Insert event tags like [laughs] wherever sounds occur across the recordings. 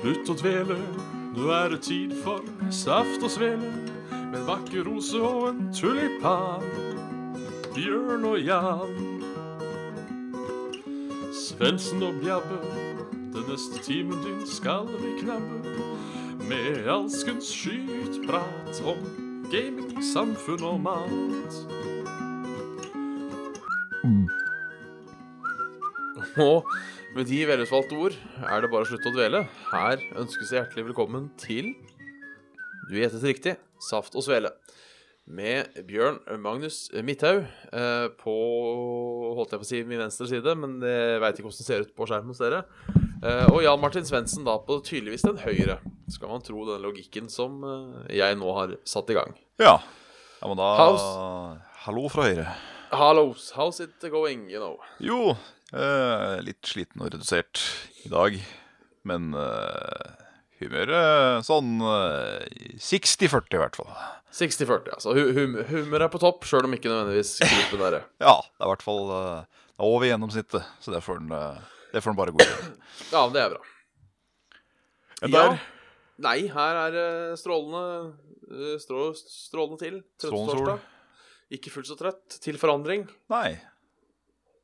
Slutt å dvele, nå er det tid for saft og svele. Med en vakker rose og en tulipan. Bjørn og Jan. Svendsen og Bjabbe, den neste timen din skal vi knabbe. Med alskens skytprat om gaming, samfunn og mat. Og med de velutvalgte ord er det bare å slutte å dvele. Her ønskes det hjertelig velkommen til Du gjettet riktig Saft og Svele. Med Bjørn Magnus Midthaug eh, på holdt jeg på å si min venstre side, men jeg veit ikke hvordan det ser ut på skjermen hos dere. Eh, og Jan Martin Svendsen da på tydeligvis den høyre, skal man tro den logikken som eh, jeg nå har satt i gang. Ja. ja men da House. Hallo fra høyre. Hallo, how's it going, you know? Jo, eh, litt sliten og redusert i dag. Men eh, humøret sånn eh, 60-40 i hvert fall. 60-40, altså. Hu- Hum humør er på topp, sjøl om ikke nødvendigvis gruppen er det. Ja, det er i hvert fall eh, det er over gjennomsnittet, så det får den, eh, det får den bare god gjøre. Ja, det er bra. Enn Ja. der? Nei, her er det strålende, eh, strå, strålende til. Strålende sol. Trøttetorsdag. Ikke fullt så trøtt. Til forandring. Nei.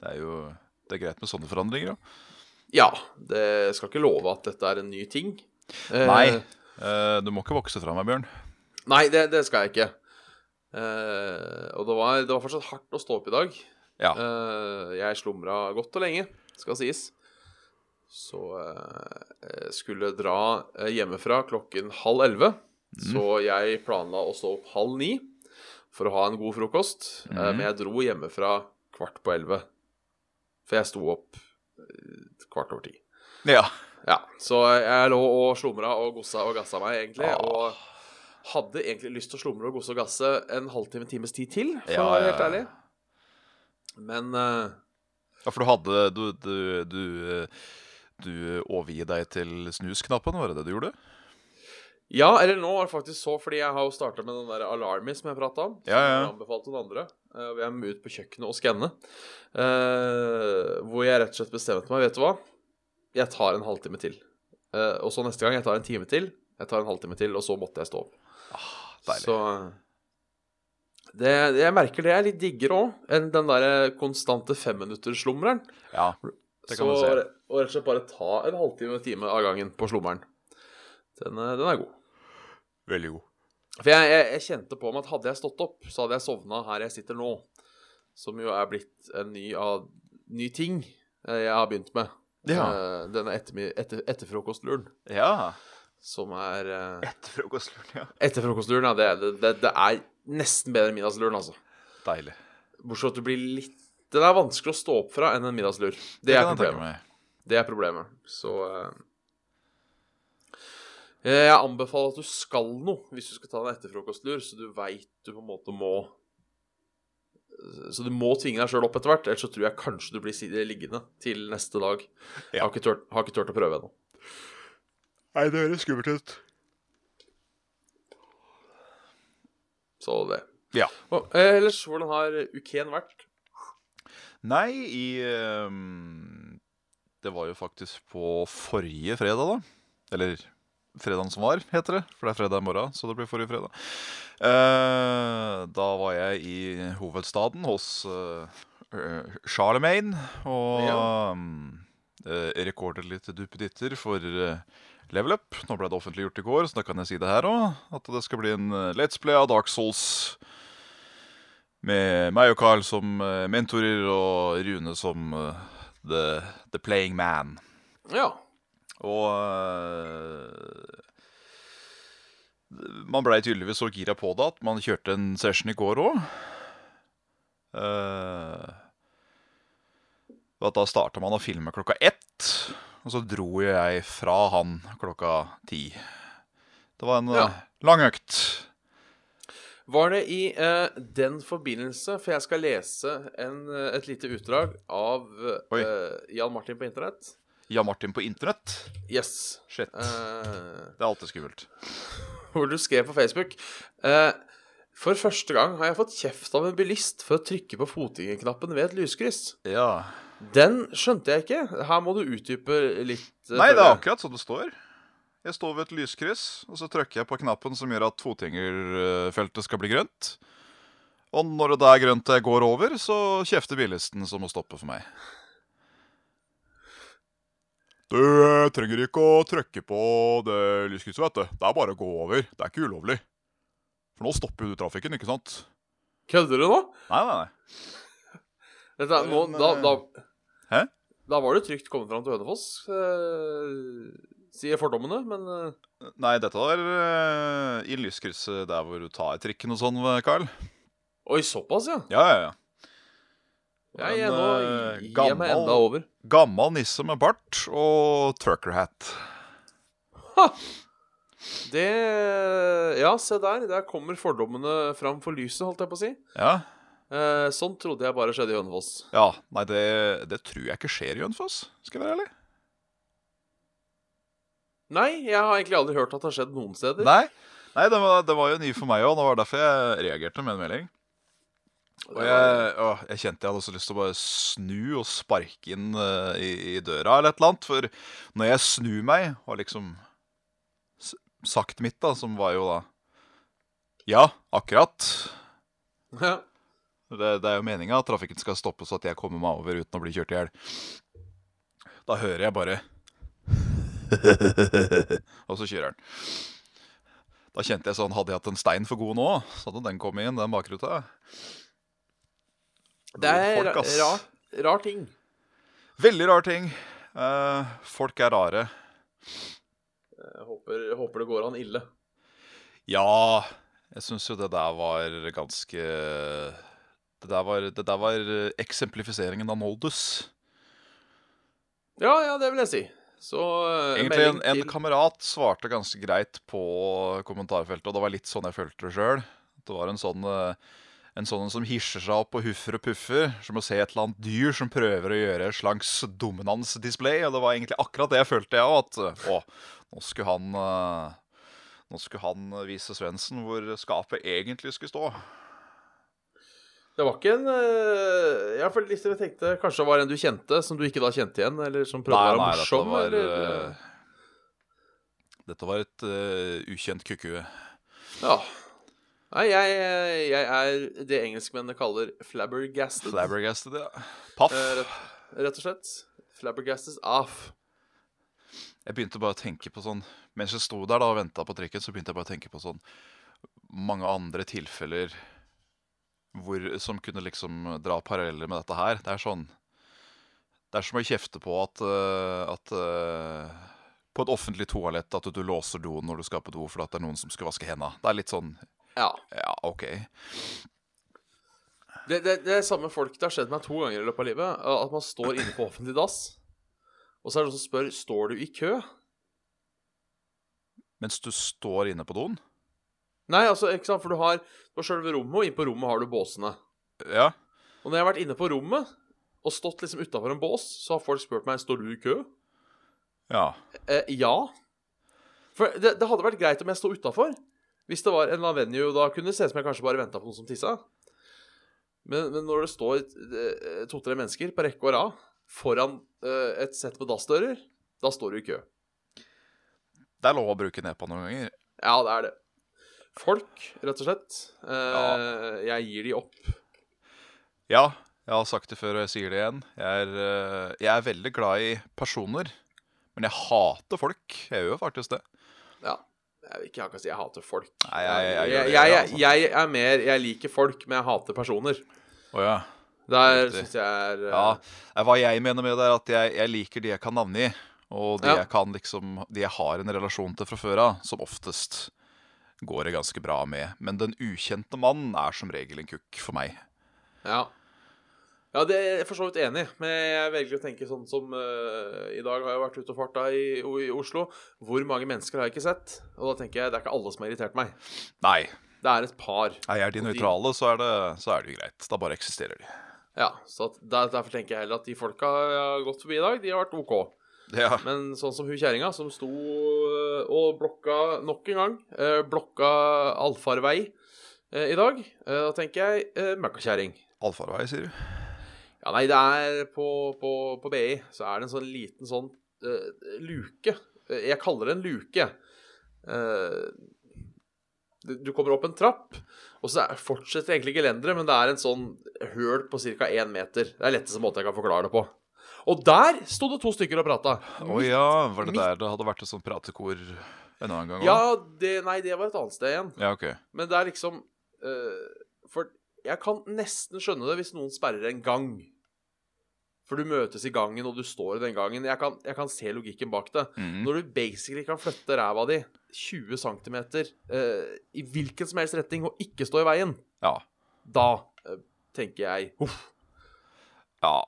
Det er jo det er greit med sånne forandringer, da. Ja, det skal ikke love at dette er en ny ting. Eh, Nei. eh, du må ikke vokse fra meg, Bjørn. Nei, det, det skal jeg ikke. Eh, og det var, det var fortsatt hardt å stå opp i dag. Ja. Eh, jeg slumra godt og lenge, skal sies. Så eh, jeg skulle dra eh, hjemmefra klokken halv elleve. Mm. Så jeg planla å stå opp halv ni for å ha en god frokost. eh, Mhm. men jeg dro hjemmefra kvart på elleve. For jeg sto opp eh, kvart over ti. Ja. Ja, så jeg lå og slumra og gossa og gassa meg, egentlig. Ah. Og hadde egentlig lyst til å slumre og gosse og gasse en halvtime, times tid til, for å Ja, være ja, helt ja. ærlig. Men eh, Ja, for du hadde Du, du, du, eh, du overgir deg til snusknappen, var det det du gjorde? Ja, eller nå var det faktisk så, fordi jeg har jo starta med den der Alarmi som jeg prata om. Ja, ja. Som jeg anbefalte noen andre. Eh, og Jeg må ut på kjøkkenet og skanne. Eh, hvor jeg rett og slett bestemte meg, vet du hva? Jeg tar en halvtime til. Eh, og så neste gang, jeg tar en time til. Jeg tar en halvtime til, og så måtte jeg stå opp. Ah, deilig. Så eh, det, Jeg merker det jeg litt digger òg, enn den der konstante femminutterslumreren. Ja, det kan Så du se. re- og rett og slett bare ta en halvtime, time av gangen på slummeren. Den, eh, den er god. Veldig god. For jeg, jeg, jeg kjente på meg at hadde jeg stått opp, så hadde jeg sovna her jeg sitter nå. Som jo er blitt en ny, av, ny ting eh, jeg har begynt med. Ja. Eh, Denne ettermi- etter, etterfrokostluren. Ja. Som er eh, Etter frokostluren, ja. Etterfrokostluren, ja. Det, er- det, det, det er nesten bedre enn middagsluren, altså. Deilig. Bortsett fra at du blir litt Den er vanskelig å stå opp fra enn en middagslur. Det er kan jeg tenke problemet. meg. Det er problemet. Så eh, Jeg anbefaler at du skal noe hvis du skal ta en etterfrokostlur, så du veit du på en måte må Så du må tvinge deg sjøl opp etter hvert, ellers så tror jeg kanskje du blir si- liggende til neste dag. Jeg har ikke turt, har ikke turt å prøve ennå. Nei, det høres skummelt ut. Så det. Ja. Og, eh, ellers, hvordan har uken vært? Nei, i ehm, Det var jo faktisk på forrige fredag, da. Eller fredagen som var, heter det. For det er fredag i morgen, så det blir forrige fredag. Eh, da var jeg i hovedstaden hos eh, eh, Charlemagne og Ja. ehm, eh, rekordet litt duppeditter for eh, Level Up. Nå ble det offentliggjort i går, så da kan jeg si det her òg. At det skal bli en eh, Let's Play av Dark Souls. Med meg og Carl som eh, mentorer og Rune som eh, the, the playing man. Ja. Og eh, man blei tydeligvis så gira på det at man kjørte en session i går òg. at da starta man å filme klokka ett, og så dro jo jeg fra han klokka ti. Det var en eh, Ja. lang økt. Var det i eh, den forbindelse, for jeg skal lese en, eh, et lite utdrag av Oi. eh, Jan Martin på internett. Jan Martin på internett. Yes. Shit. Eh, Det er alltid skummelt. hvor du skrev på Facebook eh, For første gang har jeg fått kjeft av en bilist for å trykke på fotgjengerknappen ved et lyskryss. Ja. Den skjønte jeg ikke. Her må du utdype litt. eh, føler Nei, det er jeg. akkurat sånn det står. Jeg står ved et lyskryss, og så trykker jeg på knappen som gjør at fotgjengerfeltet skal bli grønt. Og når det er grønt jeg går over, så kjefter bilisten som må stoppe for meg. Du eh, trenger ikke å trykke på det lyskrysset, vet du. Det er bare å gå over. Det er ikke ulovlig. For nå stopper jo du trafikken, ikke sant? Kødder du nå? Nei, nei, nei. Dette, er- nå da, da, Hæ? Da var det trygt kommet fram til Hønefoss, eh, sier fordommene, men eh, Nei, dette var eh, i lyskrysset der hvor du tar trikken og sånn, Carl. Oi, såpass, ja. Ja, ja, ja. Jeg er Men, nå eh, gir jeg gammel- meg enda over. Gammel nisse med bart og truckerhat. Det Ja, se der. Der kommer fordommene fram for lyset, holdt jeg på å si. Ja. Eh, sånn trodde jeg bare skjedde i Hønefoss. ja. Nei, det, det tror jeg ikke skjer i Hønefoss, skal jeg være ærlig. Nei, jeg har egentlig aldri hørt at det har skjedd noen steder. Nei, Nei det, var, det var jo ny for meg òg. Det var derfor jeg reagerte med en melding. Og jeg, å, jeg kjente jeg hadde så lyst til å bare snu og sparke inn eh, i, i døra eller et eller annet. For når jeg snur meg og liksom s- sagt mitt, da, som var jo da Ja, akkurat. [laughs] Ja. Det, det er jo meninga at trafikken skal stoppe så at jeg kommer meg over uten å bli kjørt i hjel. Da hører jeg bare [laughs] Og så kjører den. Da kjente jeg sånn Hadde jeg hatt en stein for god nå, så hadde den kommet inn, den bakruta. Det er Folk, ass. rar, rar ting. Veldig rar ting. Eh, folk er rare. Jeg håper, jeg håper det går han ille. Ja, jeg syns jo det der var ganske Det der var, det der var eh, eksemplifiseringen av Moldus. Ja, ja, det vil jeg si. Så eh, Egentlig en, melding en til- kamerat svarte ganske greit på kommentarfeltet, og det var litt sånn jeg følte det sjøl. Det var en sånn eh, en sånn en som hisser seg opp og huffer og puffer, som å se et eller annet dyr som prøver å gjøre et slags dominansdisplay. Og det var egentlig akkurat det jeg følte, jeg òg. At eh, å, nå skulle han eh, Nå skulle han vise Svendsen hvor skapet egentlig skulle stå. Det var ikke en eh, Jeg følte litt jeg tenkte Kanskje det var en du kjente, som du ikke da kjente igjen? Eller som prøvde å være morsom? dette var eller, eh, Dette var et eh, ukjent kukkue. ja. Nei, jeg, jeg er det engelskmennene kaller flabbergasted. Flabbergasted, ja. Paff. Eh, rett, rett og slett. Flabbergasted off. Jeg begynte bare å tenke på sånn Mens jeg sto der da og venta på trikken, så begynte jeg bare å tenke på sånn mange andre tilfeller hvor, som kunne liksom dra paralleller med dette her. Det er sånn Det er som å kjefte på at, øh, at øh, På et offentlig toalett at du låser doen når du skal på do fordi at det er noen som skal vaske henda. Det er litt sånn Ja. Ja, OK. Det, det, det er samme folk. Det har skjedd meg to ganger i løpet av livet. At man står inne på offentlig dass, og så er det noen som spør Står du i kø. Mens du står inne på doen? Nei, altså, ikke sant, for du har på sjølve rommet, og inne på rommet har du båsene. Ja. Og når jeg har vært inne på rommet og stått liksom utafor en bås, så har folk spurt meg står du i kø. Ja. Eh, ja. For det, det hadde vært greit om jeg sto utafor. Hvis det var en eller annen venue, da kunne det se ut som jeg kanskje bare venta på noen som tissa. Men, men når det står eh, to-tre mennesker på rekke og rad foran eh, et sett med dassdører, da står du i kø. Det er lov å bruke nepa noen ganger. Ja, det er det. Folk, rett og slett. Eh, Jeg gir de opp. Ja, jeg har sagt det før, og jeg sier det igjen. Jeg er, eh, jeg er veldig glad i personer, men jeg hater folk. Jeg gjør faktisk det. Ja. Jeg vil ikke akkurat si jeg hater folk. Nei, jeg- jeg- jeg gjør jeg, det, jeg, altså. jeg er mer Jeg liker folk, men jeg hater personer. Å ja. Der Riktig. syns jeg er eh, Ja, eh, Hva jeg mener med det, er at jeg, jeg liker de jeg kan navngi, og de, Ja. jeg kan liksom, de jeg har en relasjon til fra før av, som oftest går det ganske bra med. Men den ukjente mannen er som regel en kukk for meg. Ja. Ja, det er jeg for så vidt enig i, men jeg velger å tenke sånn som eh, I dag har jeg vært ute og farta i, i Oslo. Hvor mange mennesker har jeg ikke sett? Og da tenker jeg det er ikke alle som har irritert meg. Nei, Det er et par. er jeg Og de de- nøytrale, så er det, så er det jo greit. Da bare eksisterer de. Ja, så at der, Derfor tenker jeg heller at de folka jeg har gått forbi i dag, de har vært OK. Ja. Men sånn som hun kjerringa som sto øh, og blokka nok en gang, øh, blokka allfarvei øh, i dag, øh, da tenker jeg øh, møkkakjerring. Allfarvei, sier du? Ja, nei, det er på, på, på BI så er det en sånn liten sånn øh, eh, luke eh, Jeg kaller det en luke. Eh, det- Du kommer opp en trapp, og så er- fortsetter egentlig gelenderet, men det er en sånn høl på ca. én meter. Det er letteste måte jeg kan forklare det på. Og der sto det to stykker og prata. Å ja, var det midt- der det hadde vært et sånt pratekor en annen gang òg? Ja, det, nei, det var et annet sted igjen. ja, ok. Men det er liksom eh, For jeg kan nesten skjønne det hvis noen sperrer en gang. For du møtes i gangen, og du står i den gangen. Jeg kan, jeg kan se logikken bak det. Mhm. Når du basically kan flytte ræva di 20 cm i hvilken som helst retning og ikke stå i veien, Ja. da eh, tenker jeg Huff, ja.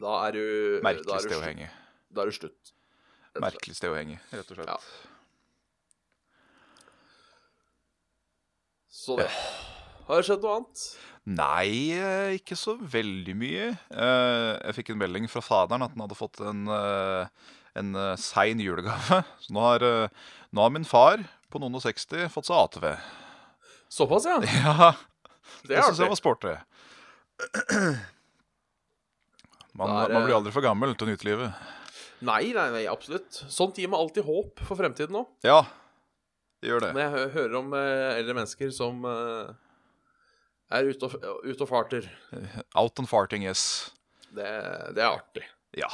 da er du da Merkelig er du sted å slutt. henge. Da er du slutt. rett og slett. Merkelig sted å henge, rett og slett. Ja. Så det. Har det skjedd noe annet? Nei, eh, ikke så veldig mye. Eh, Jeg fikk en melding fra faderen at han hadde fått en, eh, en eh, sein julegave. [laughs] Så nå har, eh, nå har min far på noen og 60 fått seg ATV. Såpass, ja. [laughs] Ja, Det det er syns jeg artig. var sporty. [clears throat] Man, Da er det- man blir aldri for gammel til å nyte livet. Nei, nei, nei, absolutt. Sånn tid må alltid håp for fremtiden òg. Ja, det gjør det. Når jeg hø- hører om eh, eldre mennesker som eh, er ute og, f- ute og farter. Out and farting, yes. Det, det er artig. Ja.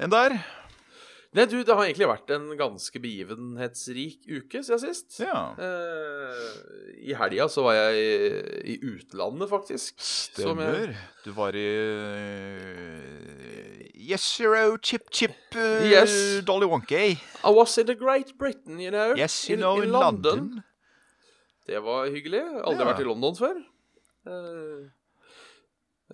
En der. Nei, du, det har egentlig vært en ganske begivenhetsrik uke siden sist. Ja. Eh, I helga så var jeg i, i utlandet, faktisk. Som jeg- Stemmer. Du var i eh, Yes, Zero, Chip Chip, eh, Yes. Dolly Wonky. I was in the Great Britain, you know. Yes, you in- know, in in London. Det var hyggelig. Aldri Ja. vært i London før. Eh,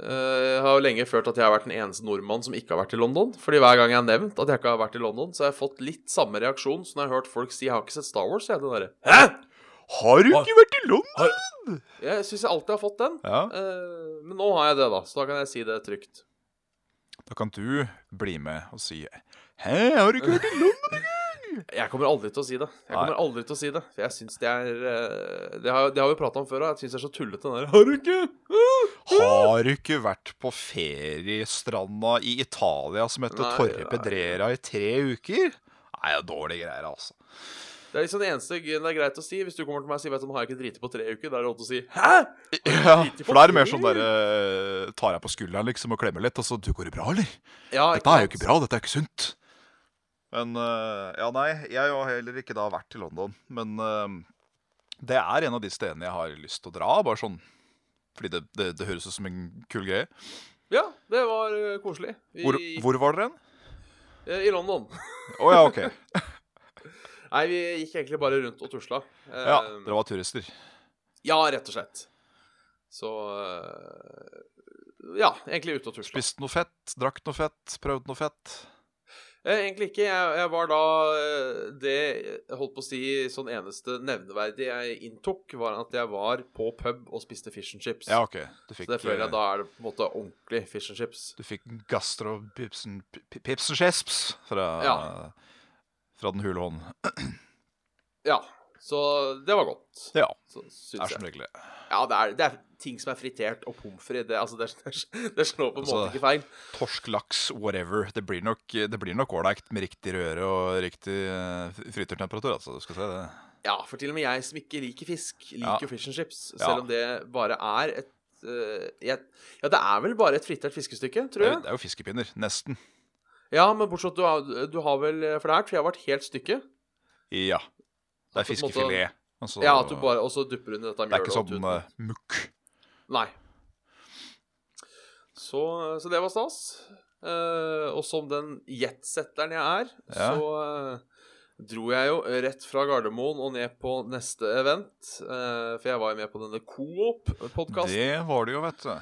eh, jeg har jo lenge følt at jeg har vært den eneste nordmann som ikke har vært i London. Fordi hver gang jeg har nevnt at jeg ikke har vært i London, så har jeg fått litt samme reaksjon som når jeg har hørt folk si 'Jeg har ikke sett Star Wars', jeg. Den derre Hæ?! Har du ikke vært i London? Jeg syns jeg alltid har fått den. Ja, Eh, men nå har jeg det, da, så da kan jeg si det trygt. Da kan du bli med og si Hæ, har du ikke vært i [laughs] London? Jeg kommer aldri til å si det. Jeg kommer aldri til å si det For jeg syns det er eh, Det har, det har vi prata om før, og jeg syns det er så tullete, den der 'Har du ikke?' Ah! Har du ikke vært på feriestranda i Italia som heter Nei, Torre nei. Pedrera i tre uker? Nei, det er dårlige greier, altså. Det er liksom det eneste det er greit å si. Hvis du kommer til meg og sier Vet du, nå har jeg ikke driti på tre uker, da er det lov til å si Hæ? Ja, Lite for da er det mer fortid. sånn derre Tar jeg på skulderen liksom og klemmer litt, og så Du, går det bra, eller? Ja, Dette er jo sant? ikke bra, dette er ikke sunt. Men øh, Ja, nei, jeg har heller ikke da vært i London. Men øh, det er en av de stedene jeg har lyst til å dra, bare sånn fordi det, det, det høres ut som en kul greie. Ja, det var eh, koselig. I, Hvor, hvor var dere hen? eh, I London. Å ja, OK. [laughs] Nei, vi gikk egentlig bare rundt og tusla. Eh, Ja, dere var turister. ja, rett og slett. Så eh, Ja, egentlig ute og tusla. Spiste noe fett, drakk noe fett, prøvde noe fett. Eh, Egentlig ikke. Jeg, jeg var da eh, Det jeg holdt på å si sånn eneste nevneverdige jeg inntok, var at jeg var på pub og spiste fish and chips. Ja, OK. Du fikk, Så det føler øh, jeg da er det på en måte ordentlig fish and chips. Du fikk gastropipsen pipsenskjesps fra, Ja. fra den hule hånden. Ja, så det var godt. Ja, Så syns det er jeg. som regel det. Ja, det er, det er ting som er fritert og pommes frites. Det, altså, det, [laughs] det, det slår på en Altså- måte ikke feil. Torsk, laks, whatever. Det blir nok det blir nok ålreit med riktig røre og riktig eh, frityrtemperatur. Altså, du skal se det. Ja, for til og med jeg som ikke liker fisk, liker Ja. jo fish and chips. Ja. Selv om det bare er et eh, jeg, Ja, det er vel bare et fritert fiskestykke, Det tror er, jo- jeg. det er jo fiskepinner. Nesten. Ja, men bortsett du har, du har vel For det her tror jeg var et helt stykke. Ja. Det er At du på en måte- fiskefilet. Altså, Ja, at du bare Og så dupper du ned dette det er ikke mjølet og sånn tuten. eh, mukk. Nei. Så, så det var stas. Eh, og som den jetsetteren jeg er, Ja. så eh, dro jeg jo rett fra Gardermoen og ned på neste event. eh, for jeg var jo med på denne Coop-podkasten Det var det jo, vet du.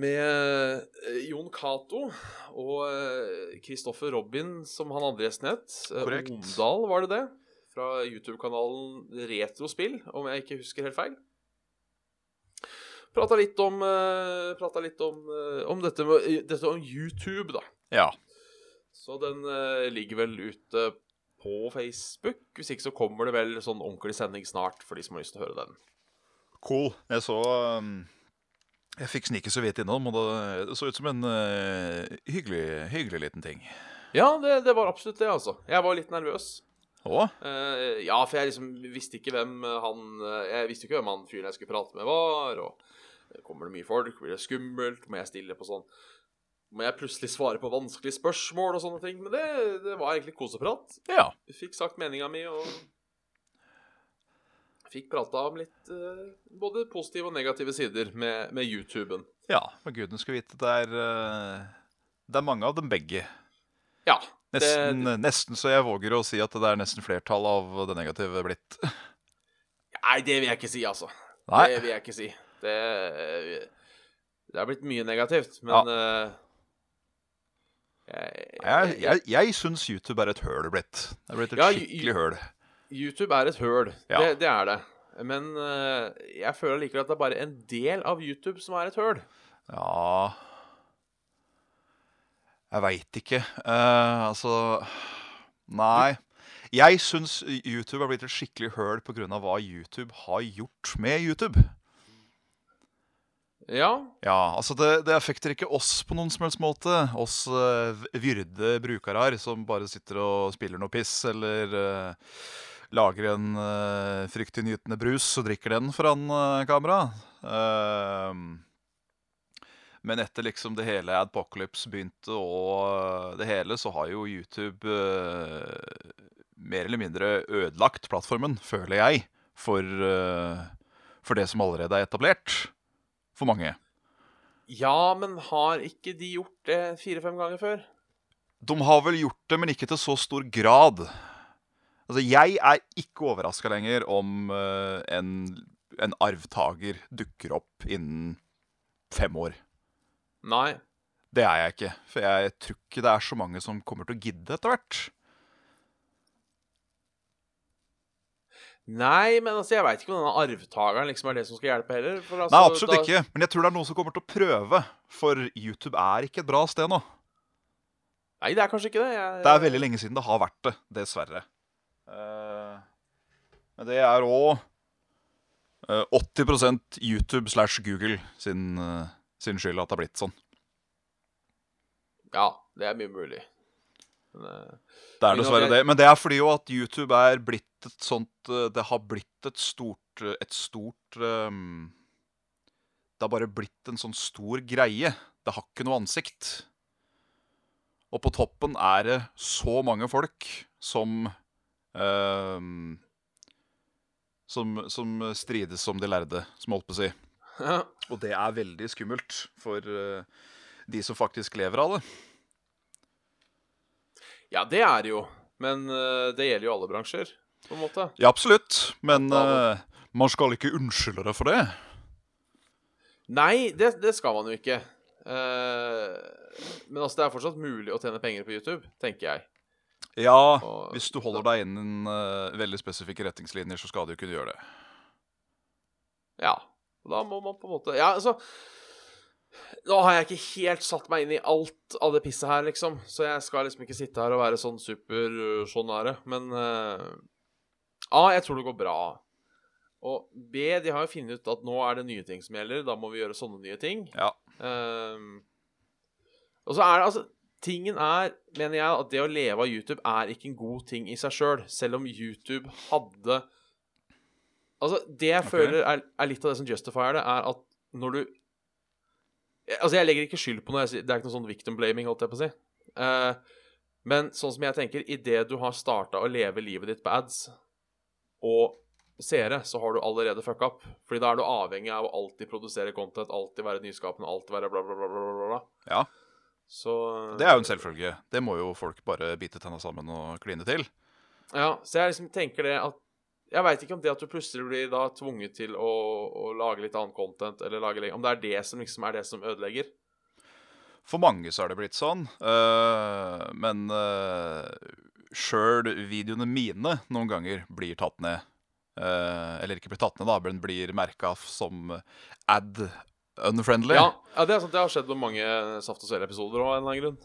med eh, Jon Cato og Kristoffer Robin, som han andre gjesten het. Eh, Korrekt. Omdal, var det det? Fra YouTube-kanalen Retrospill, om jeg ikke husker helt feil. Prata litt om, eh, prata litt om, eh, om dette, med, dette om YouTube, da. Ja. Så den eh, ligger vel ute på Facebook. Hvis ikke så kommer det vel sånn ordentlig sending snart for de som har lyst til å høre den. Cool. Jeg så um, Jeg fikk snike så vidt innom, og det, det så ut som en eh, hyggelig, hyggelig liten ting. Ja, det, det var absolutt det, altså. Jeg var litt nervøs. Å? Eh, ja, for jeg liksom visste ikke hvem eh, han eh, Jeg visste ikke hvem han fyren jeg skulle prate med, var. Og eh, kommer det mye folk? Blir det skummelt? Må jeg stille på sånn Må jeg plutselig svare på vanskelige spørsmål og sånne ting? Men det, det var egentlig koseprat. Ja. Fikk sagt meninga mi og Fikk prata om litt eh, både positive og negative sider med, med YouTuben. ja. Men gudene skulle vite, det er eh, Det er mange av dem begge. Ja. det- Nesten, nesten så jeg våger å si at det er nesten flertall av det negative blitt. [laughs] Nei, det vil jeg ikke si, altså. Nei. Det vil jeg ikke si. Det, det har blitt mye negativt, men eh, jeg, Jeg, jeg, jeg syns YouTube er et høl blitt. Det er blitt et Ja, skikkelig høl. YouTube er et høl. Ja. Det, det er det. Men eh, jeg føler likevel at det er bare en del av YouTube som er et høl. Ja Jeg veit ikke. Eh, altså Nei. Jeg syns YouTube er blitt et skikkelig høl pga. hva YouTube har gjort med YouTube. Ja. Ja, altså det, det affekter ikke oss på noen som helst måte. Oss eh, v- vyrde brukere her som bare sitter og spiller noe piss, eller eh, lager en eh, fryktinngytende brus og drikker den foran eh, kamera. Ehm, men etter liksom det hele Adpocalypse begynte og eh, det hele, så har jo YouTube eh, mer eller mindre ødelagt plattformen, føler jeg, for, eh, for det som allerede er etablert for mange. ja, men har ikke de gjort det fire-fem ganger før? De har vel gjort det, men ikke til så stor grad. Altså, jeg er ikke overraska lenger om eh, en, en arvtaker dukker opp innen fem år. Nei. Det er jeg ikke, for jeg tror ikke det er så mange som kommer til å gidde etter hvert. Nei, men altså, jeg veit ikke om denne arvtakeren liksom er det som skal hjelpe heller. For, altså, Nei, absolutt da- ikke, men jeg tror det er noen som kommer til å prøve. For YouTube er ikke et bra sted nå. Nei, det er kanskje ikke det. Jeg, Det er veldig lenge siden det har vært det, dessverre. Eh, Men det er òg 80 YouTube slash Google sin, eh, sin skyld at det har blitt sånn. Ja, det er mye mulig. Men, eh, Det er Men dessverre altså, jeg- det. Men det er fordi jo at YouTube er blitt et sånt eh, Det har blitt et stort eh, Et stort ehm, Det har bare blitt en sånn stor greie. Det har ikke noe ansikt. Og på toppen er det så mange folk som ehm, som, som strides som de lærde, som jeg holdt på å si. eh, [laughs] Og det er veldig skummelt for eh, de som faktisk lever av det. Ja, det er det jo. Men eh, det gjelder jo alle bransjer, på en måte. Ja, absolutt. Men Ja, eh, man skal ikke unnskylde deg for det. Nei, det, det skal man jo ikke. Eh, men altså, det er fortsatt mulig å tjene penger på YouTube, tenker jeg. Ja, Og- hvis du holder deg innen eh, veldig spesifikke retningslinjer, så skal du kunne gjøre det. Ja. Og Da må man på en måte Ja, altså Nå har jeg ikke helt satt meg inn i alt av det pisset her, liksom. Så jeg skal liksom ikke sitte her og være sånn super øh, sånn er det. Men eh, A, jeg tror det går bra. Og B, de har jo funnet ut at nå er det nye ting som gjelder. Da må vi gjøre sånne nye ting. Ja. Ehm, og så er det altså Tingen er, mener jeg, at det å leve av YouTube er ikke en god ting i seg sjøl. Selv om YouTube hadde Altså, det jeg Ok. føler er, er litt av det som justifier det, er at når du Jeg- Altså, jeg legger ikke skyld på noe. Jeg, sier- det er ikke noe sånn victim blaming, holdt jeg på å si. Eh, men sånn som jeg tenker, idet du har starta å leve livet ditt på ads og seere, så har du allerede fucka opp. Fordi da er du avhengig av å alltid produsere content, alltid være nyskapende, alltid være bla, bla, bla, bla, bla, bla. Ja. Så Det er jo en selvfølge. Det må jo folk bare bite tenna sammen og kline til. Ja, så jeg liksom tenker det at Jeg veit ikke om det at du plutselig blir da tvunget til å, å lage litt annen content, eller lage Om det er det som liksom er det som ødelegger. For mange så er det blitt sånn, eh, men uh, sjøl videoene mine noen ganger blir tatt ned. Eh, eller ikke blir tatt ned, da, men blir merka som ad unfriendly. Ja, ja, det er sant. Det har skjedd med mange Saft og Svele-episoder òg, av en eller annen grunn.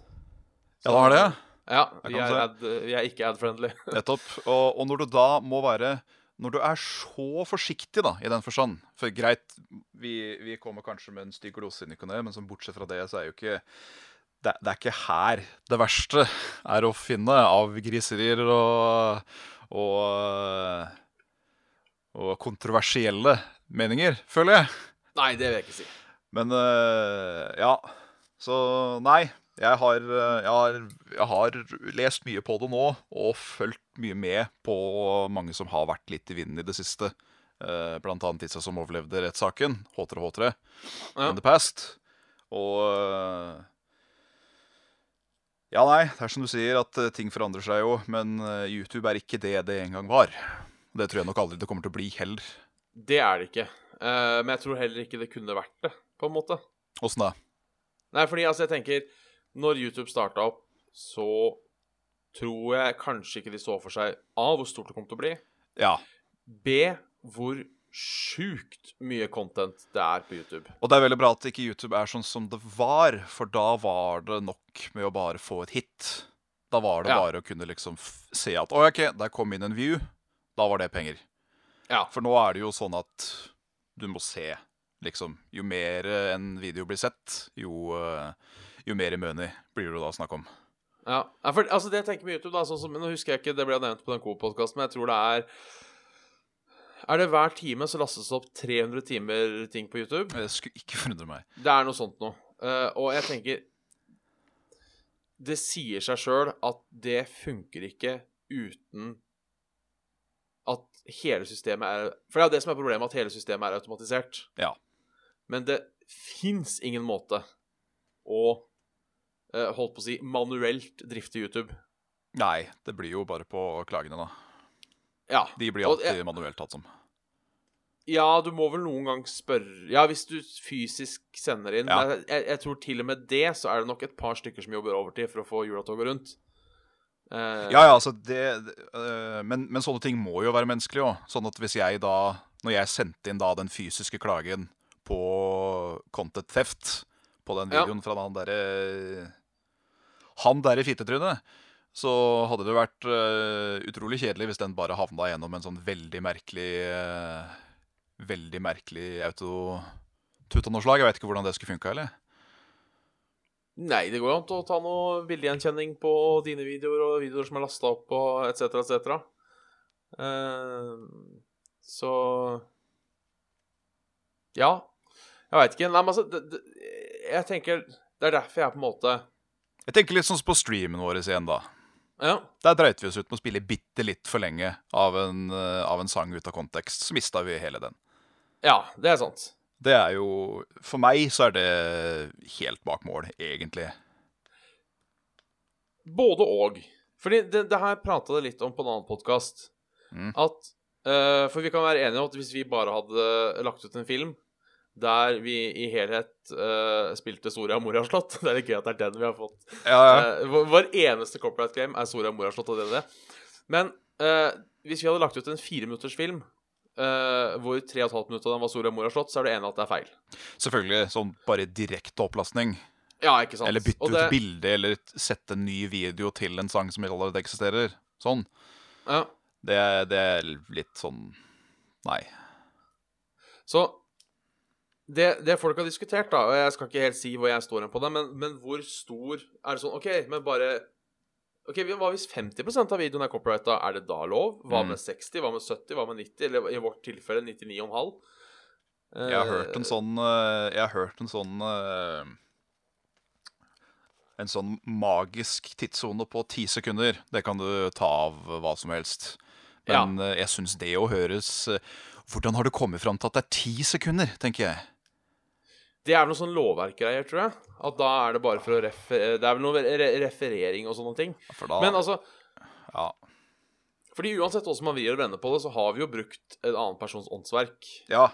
ja det har det. Ja, Jeg vi kan er, se. ad, vi er ikke ad-friendly. Nettopp. Og, og når du da må være Når du er så forsiktig, da, i den forstand For greit, vi, vi kommer kanskje med en stygg glose inn i ny og ne, men sånn bortsett fra det, så er jo ikke det, det er ikke her det verste er å finne av griserier og, og, og kontroversielle meninger, føler jeg. Nei, det vil jeg ikke si. Men eh, ja. Så nei. Jeg har, eh, jeg, har, jeg har lest mye på det nå, og fulgt mye med på mange som har vært litt i vinden i det siste. Eh, blant annet disse som overlevde rettssaken. H3H3 Ja. in the past. Og eh, Ja, nei, det er som du sier, at eh, ting forandrer seg jo, men eh, YouTube er ikke det det en gang var. Det tror jeg nok aldri det kommer til å bli heller. Det er det ikke. Eh, men jeg tror heller ikke det kunne vært det, på en måte. Åssen da? Nei, fordi altså, jeg tenker Når YouTube starta opp, så tror jeg kanskje ikke de så for seg A. Hvor stort det kom til å bli. Ja. B. Hvor sjukt mye content det er på YouTube. Og det er veldig bra at ikke YouTube er sånn som det var, for da var det nok med å bare få et hit. Da var det Ja. bare å kunne liksom f- se at Å, ok, der kom inn en view. Da var det penger. Ja. For nå er det jo sånn at du må se, liksom. Jo mer eh, en video blir sett, jo, eh, jo mer i money blir det da snakk om. Ja, ja, for altså det jeg tenker med YouTube da sånn som, Nå husker jeg ikke, det ble nevnt på den Coop-podkasten, men jeg tror det er Er det hver time så lastes det opp 300 timer ting på YouTube? Det skulle Eh, ikke forundre meg. Det er noe sånt noe. Eh, og jeg tenker Det sier seg sjøl at det funker ikke uten at hele systemet er For det er jo det som er problemet, at hele systemet er automatisert. Ja. Men det fins ingen måte å eh, holdt på å si manuelt drifte YouTube. Nei, det blir jo bare på klagene, da. Ja. De blir Og- eh, alltid manuelt tatt som. Ja, du må vel noen gang spørre Ja, hvis du fysisk sender inn. Ja. Men jeg, jeg tror til og med det så er det nok et par stykker som jobber overtid for å få julatoget rundt. Eh, Ja, ja, altså det, det, øh, men, men sånne ting må jo være menneskelig òg. Sånn at hvis jeg da Når jeg sendte inn da den fysiske klagen på Content Theft, på den Ja. videoen fra han derre Han derre fittetrynet, så hadde det jo vært øh, utrolig kjedelig hvis den bare havna gjennom en sånn veldig merkelig øh, Veldig merkelig autotutanoslag. Jeg veit ikke hvordan det skulle funka, eller? Nei, det går jo an til å ta noe bildegjenkjenning på dine videoer og videoer som er lasta opp og etc., etc. Eh, så Ja. Jeg veit ikke. Nei, men altså det, det, Jeg tenker Det er derfor jeg er på en måte Jeg tenker litt sånn på streamen vår igjen, da. Ja. Der dreit vi oss ut med å spille bitte litt for lenge av en, eh, av en sang ut av kontekst. Så mista vi hele den. ja det er sant. Det er jo For meg så er det helt bak mål, egentlig. Både og. Fordi det, det her prata det litt om på en annen podkast. Mm. At eh, For vi kan være enige om at hvis vi bare hadde lagt ut en film der vi i helhet eh, spilte Soria Moria-slott [laughs] Det er litt gøy at det er den vi har fått. Ja, Eh, vår, vår eneste copyright claim er Soria Moria-slott og DND. Men eh, hvis vi hadde lagt ut en fireminuttersfilm uh, hvor tre og et halvt minutt av den var Soria Moria-slott, så er det enig at det er feil. selvfølgelig. Sånn bare direkte opplastning. Ja, ikke sant? Eller bytte Sånn. Og det- ut bilde, eller sette en ny video til en sang som allerede eksisterer. Sånn. Ja. Det, er- det er litt sånn Nei. Så det, det folk har diskutert, da, og jeg skal ikke helt si hvor jeg står hen på det, men, men hvor stor er det sånn OK, men bare Ok, Hva hvis 50 av videoen er copyrighta? Er det da lov? Hva Mm. med 60? Hva med 70? Hva med 90? Eller i vårt tilfelle 99,5? Eh, Jeg har hørt en sånn eh, Jeg har hørt en sånn eh, En sånn magisk tidssone på ti sekunder. Det kan du ta av hva som helst. Men eh, jeg syns det å høres eh, Hvordan har du kommet fram til at det er ti sekunder, tenker jeg. Det er vel noe sånn lovverkgreier, tror jeg. At da er det bare for å refer... eh, Det er vel noe re referering og sånne ting. For da Men altså Ja. Fordi uansett hvordan man vrir og vender på det, så har vi jo brukt en annen persons åndsverk. Ja,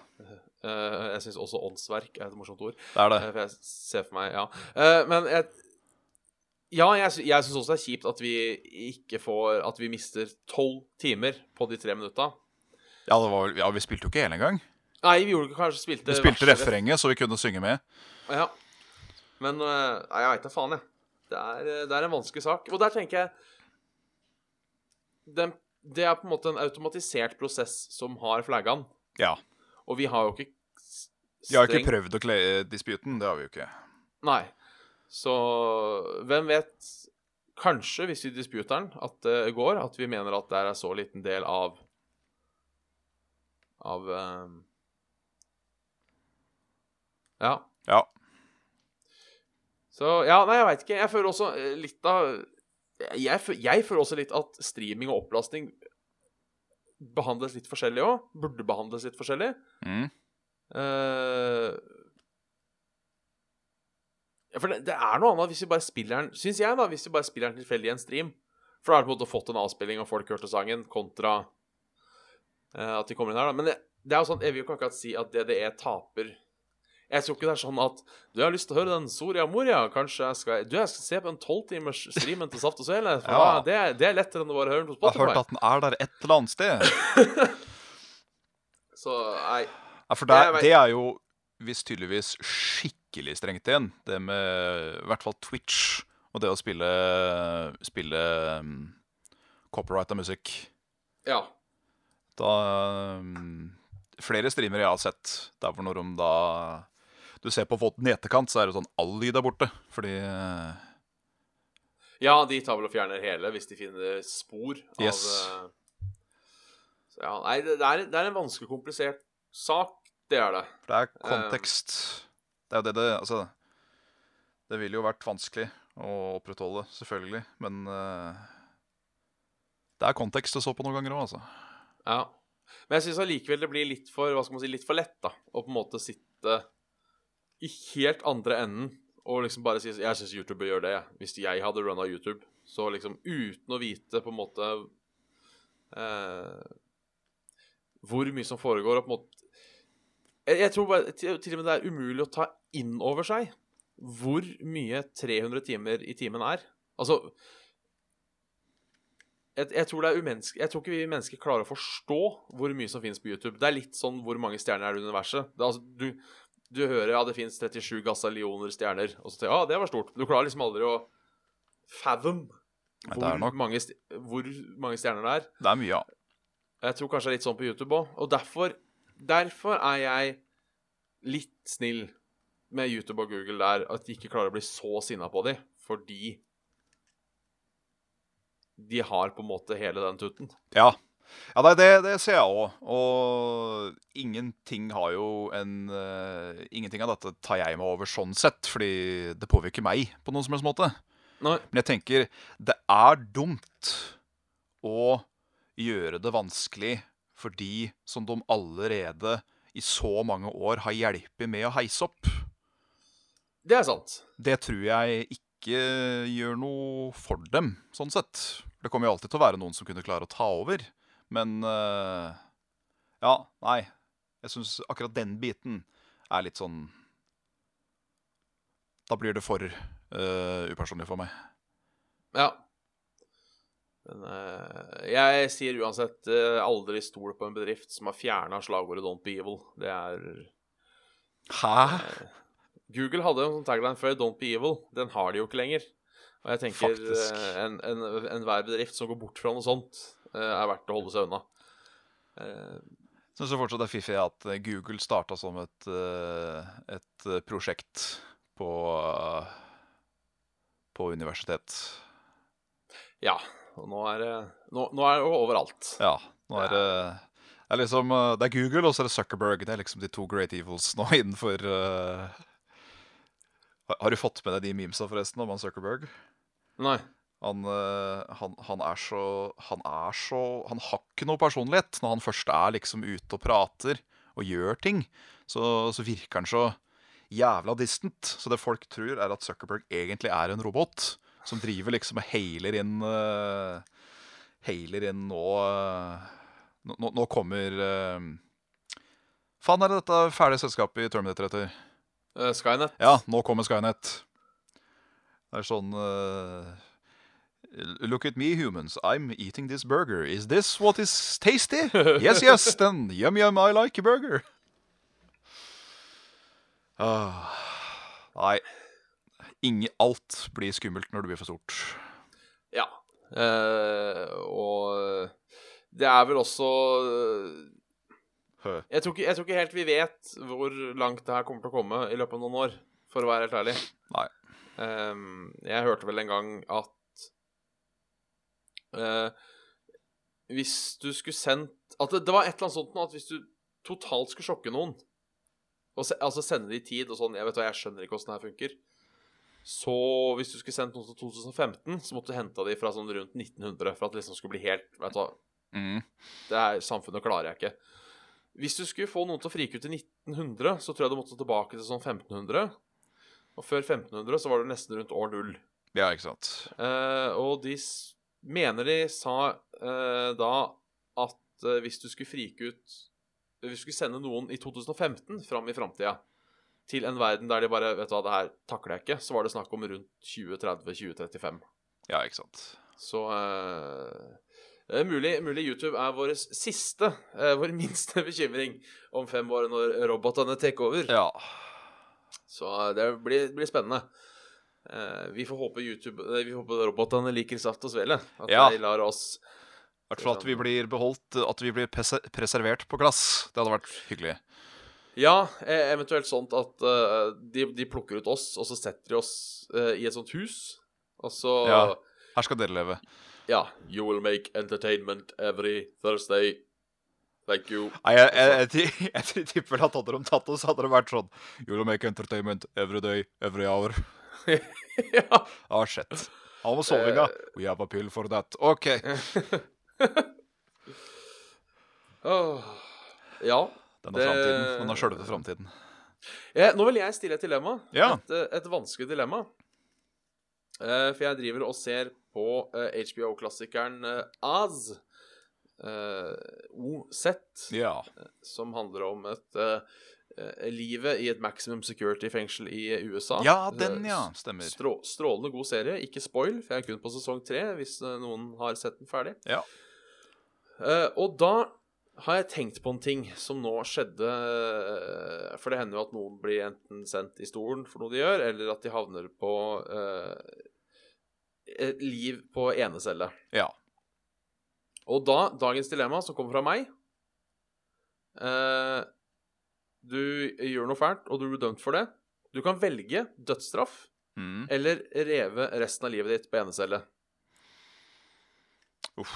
Eh, jeg syns også åndsverk er et morsomt ord. det er det. Eh, For [laughs] jeg ser for meg, ja. Eh, Men jeg, ja, jeg, sy- jeg syns også det er kjipt at vi ikke får At vi mister tolv timer på de tre minutta. Ja, det var, vel- ja vi spilte jo ikke hele engang. Nei, vi gjorde ikke kanskje spilte Vi spilte verser- refrenget, så vi kunne synge med. Ja. Men eh, nei, jeg veit da faen, jeg. Det er, eh, det er en vanskelig sak. Og der tenker jeg den, Det er på en måte en automatisert prosess som har flagga den. Ja. Og vi har jo ikke s- Vi har jo ikke strengt- eh, prøvd å kle disputen. Det har vi jo ikke. Nei. Så hvem vet Kanskje, hvis vi disputer den, at det går, at vi mener at det er så liten del av Av eh, Ja. Ja. Så Ja, nei, jeg veit ikke. Jeg føler også eh, litt av jeg, fø- jeg føler også litt at streaming og opplastning behandles litt forskjellig òg. Burde behandles litt forskjellig. Mm. Eh, ja, for det, det er noe annet hvis vi bare spiller den Syns jeg, da, hvis vi bare spiller den tilfeldig i en stream. For da har du på en måte fått en avspilling, og folk hørte sangen, kontra eh, at de kommer inn her, da. Men det, det er jo sånn, jeg vil jo ikke akkurat si at DDE taper. Jeg tror ikke det er sånn at Du jeg har lyst til å høre den Soria Moria, kanskje jeg skal Du, jeg skal se på en tolvtimers streamen til Saft og Svele. For Ja. da, det, er- det er lettere enn å bare høre den på Jeg har hørt Spotify. at den er der et eller annet sted. Så nei. Ja, for Jeg der, vet- det er jo visst tydeligvis skikkelig strengt igjen. Det med i hvert fall Twitch og det å spille, spille um, copyright av musikk. Ja. Da um, Flere streamere jeg har sett der hvor når de da Du ser på folk den i etterkant, så er det sånn all lyd er borte. Fordi eh, Ja, de tar vel og fjerner hele hvis de finner spor av Yes. eh, Så ja, nei, det, det, er, det er en vanskelig, komplisert sak. Det er det. For det er kontekst. Det er jo det det Altså, det ville jo vært vanskelig å opprettholde, selvfølgelig, men eh, Det er kontekst å så på noen ganger òg, altså. Ja. Men jeg syns allikevel det blir litt for hva skal man si, litt for lett da, å på en måte sitte i helt andre enden og liksom bare si Jeg syns YouTube bør gjøre det, jeg. Hvis jeg hadde runna YouTube, så liksom uten å vite på en måte eh, hvor mye som foregår, og på en måte Jeg, jeg tror bare til, til og med det er umulig å ta inn over seg hvor mye 300 timer i timen er. Altså jeg, jeg tror det er umenneske, Jeg tror ikke vi mennesker klarer å forstå hvor mye som finnes på YouTube. Det er litt sånn hvor mange stjerner er det i universet. Det, er altså, du, du hører ja, det finnes 37 gasillioner stjerner, og så tenker du ja, det var stort. Du klarer liksom aldri å fathom Nei, det, hvor, er nok, mange st- hvor mange stjerner det er. det er mye, ja. Jeg tror kanskje det er litt sånn på YouTube òg. Og derfor, derfor er jeg litt snill med YouTube og Google der, at de ikke klarer å bli så sinna på dem, fordi de har på en måte hele den tutten. Ja, ja nei, det, det ser jeg òg. Og ingenting har jo en eh, Ingenting av dette tar jeg meg over sånn sett, fordi det påvirker meg på noen som helst måte. Nei. Men jeg tenker det er dumt å gjøre det vanskelig for de som de allerede i så mange år har hjulpet med å heise opp. Det er sant. Det tror jeg ikke gjør noe for dem, sånn sett. Det kommer jo alltid til å være noen som kunne klare å ta over, men eh, Ja, nei. Jeg syns akkurat den biten er litt sånn Da blir det for eh, upersonlig for meg. Ja. Men eh, jeg sier uansett eh, aldri stol på en bedrift som har fjerna slagordet 'Don't be evil'. Det er Hæ? Google hadde en sånn tagline før 'Don't be evil'. Den har de jo ikke lenger. Og jeg tenker Faktisk. eh, en- en- enhver bedrift som går bort fra noe sånt, eh, er verdt å holde seg unna. Eh, Syns du fortsatt det er fiffig at eh, Google starta som et, eh, et eh, prosjekt på, eh, på universitet? ja. Og nå er det nå, nå er det jo overalt. Ja. Nå er det det er liksom, eh, det er Google og så er det Zuckerberg. Det er liksom de to great evils nå [laughs] innenfor eh, har- Har du fått med deg de memesa forresten om han Zuckerberg? Nei. Han, eh, han, han er så Han er så Han har ikke noe personlighet. Når han først er liksom ute og prater og gjør ting, så, så virker han så jævla distant. Så det folk tror, er at Zuckerberg egentlig er en robot som driver liksom og hailer inn eh, Hailer inn nå eh, nå, nå- nå kommer uh, Faen, er det dette ferdige selskapet i Terminator heter? Eh, Skynet. Ja, nå kommer Skynet. Det er sånn eh, Look at me, humans. I'm eating this burger. Is this what is tasty? Yes, yes, then yum, yum, I like a burger. Ah, nei. Inge, alt blir skummelt når det blir for stort. Ja. Eh, og det er vel også Hø. jeg tror, ikke, jeg tror ikke helt vi vet hvor langt det her kommer til å komme i løpet av noen år, for å være helt ærlig. Nei. Ehm, jeg hørte vel en gang at eh, Hvis du skulle sendt At det, det var et eller annet sånt nå at hvis du totalt skulle sjokke noen, og se, altså sende det i tid og sånn Jeg vet hva, jeg skjønner ikke åssen det her funker. Så hvis du skulle sendt noen til 2015, så måtte du henta de fra sånn rundt 1900 for at det liksom skulle bli helt Vet du hva, Mm. det er, samfunnet klarer jeg ikke. Hvis du skulle få noen til å frike ut til 1900, så tror jeg du måtte tilbake til sånn 1500. Og før 1500 så var du nesten rundt år null. Ja, ikke sant. Eh, og de s mener de sa eh, da at eh, hvis du skulle frike ut Hvis du skulle sende noen i 2015 fram i framtida til en verden der de bare Vet du hva, det her takler jeg ikke, så var det snakk om rundt 2030-2035. Ja, ikke sant. Så eh, det er mulig, mulig YouTube er vår siste, eh, vår [laughs] minste bekymring om fem år, når robotene tar over. Ja. Så eh, det blir, blir spennende. Eh, vi får håpe YouTube nei, Vi håper robotene liker saft og svele. At Ja. de lar oss I hvert fall at vi blir beholdt, at vi blir pres- preservert på glass. Det hadde vært hyggelig. Ja, eh, eventuelt sånt at eh, de, de plukker ut oss, og så setter de oss eh, i et sånt hus. Og så Ja. Her skal dere leve. ja. You will make entertainment every Thursday. Thank you. [laughs] Nei, jeg, jeg, jeg, [laughs] jeg, jeg tipper vel at hadde de tatt oss, hadde det vært sånn You'll make entertainment every day, every hour. ja. Ah, shit. Han må sove inga. We have a pill for that. OK. Åh. Ja. Den Det- er framtiden. Den er sjølve framtiden. Jeg, Eh, nå vil jeg stille et dilemma. Ja. Et, eh, et vanskelig dilemma. Eh, for jeg driver og ser på eh, HBO-klassikeren Oz. eh, OZ. Ja. Som handler om et eh, eh, livet i et maximum security-fengsel i USA. Ja, den, Eh, ja. Stemmer. Strå, strålende god serie. Ikke spoil, for jeg er kun på sesong tre hvis eh, noen har sett den ferdig. Ja. Eh, og da har jeg tenkt på en ting som nå skjedde eh, For det hender jo at noen blir enten sendt i stolen for noe de gjør, eller at de havner på eh, et liv på enecelle. Ja. Og da, dagens dilemma, som kommer fra meg eh, Du gjør noe fælt, og du blir dømt for det. Du kan velge dødsstraff Mm. eller reve resten av livet ditt på enecelle. Uff.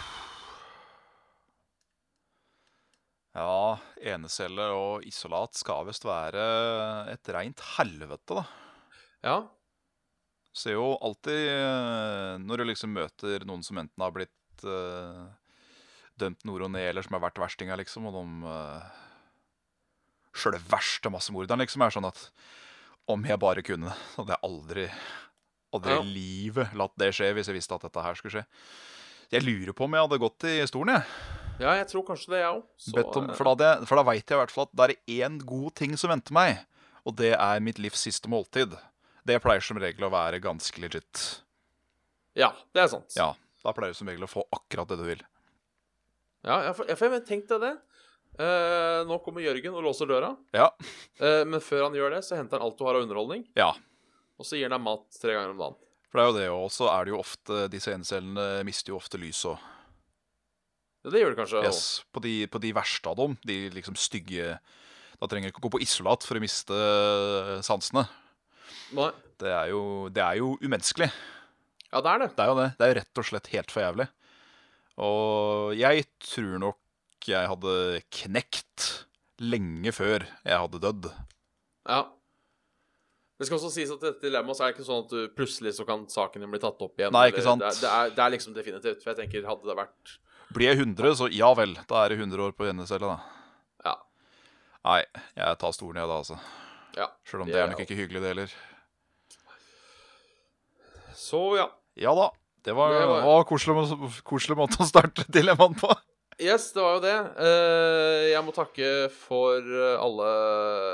Ja, enecelle og isolat skal visst være et reint helvete, da. Ja. Ser jo alltid eh, Når du liksom møter noen som enten har blitt eh, dømt nord og ned, eller som har vært verstinga, liksom, og de uh, Sjøle verste massemorderen, liksom, er sånn at Om jeg bare kunne, så hadde jeg aldri Aldri Ja. i livet latt det skje hvis jeg visste at dette her skulle skje. Jeg lurer på om jeg hadde gått i stolen, jeg. ja, jeg tror kanskje det, jeg òg. Bedt eh, om, for da, hadde jeg- for da veit jeg i hvert fall at det er én god ting som venter meg, og det er mitt livs siste måltid. Det pleier som regel å være ganske legit. eh, Ja, det er sant. Ja, da pleier du som regel å få akkurat det du vil. Ja, jeg får- jeg får- jeg tenkte det. Eh, nå kommer Jørgen og låser døra. Ja. Eh, men før han gjør det, så henter han alt du har av underholdning, ja. og så gir han deg mat tre ganger om dagen. For det er jo det, og så er det jo ofte Disse enecellene mister jo ofte lys og Ja, det gjør du kanskje. også. yes, på, de, på de verste av dem, de liksom stygge Da trenger du ikke gå på isolat for å miste eh, sansene. Nei. Det er jo, det er jo umenneskelig. Ja, det er det. Det er jo det. Det er jo rett og slett helt for jævlig. Og jeg tror nok jeg hadde knekt lenge før jeg hadde dødd. Ja. Det skal også sies at dette dilemmaet så er det ikke sånn at du plutselig så kan saken din bli tatt opp igjen. Nei, ikke sant. Det, er, det, er, det er liksom definitivt. For jeg tenker, hadde det vært Blir jeg 100, så ja vel. Da er det 100 år på enecelle, da. Ja. Nei, jeg tar stolen, jeg, da, altså. Ja. Sjøl om Det det er er nok alt. ikke hyggelig, det heller. Så ja. Ja da. Det var, Det var- Å, koselig, må- koselig måte å starte [laughs] dilemmaen på. Yes, det var jo det. Eh, jeg må takke for eh, alle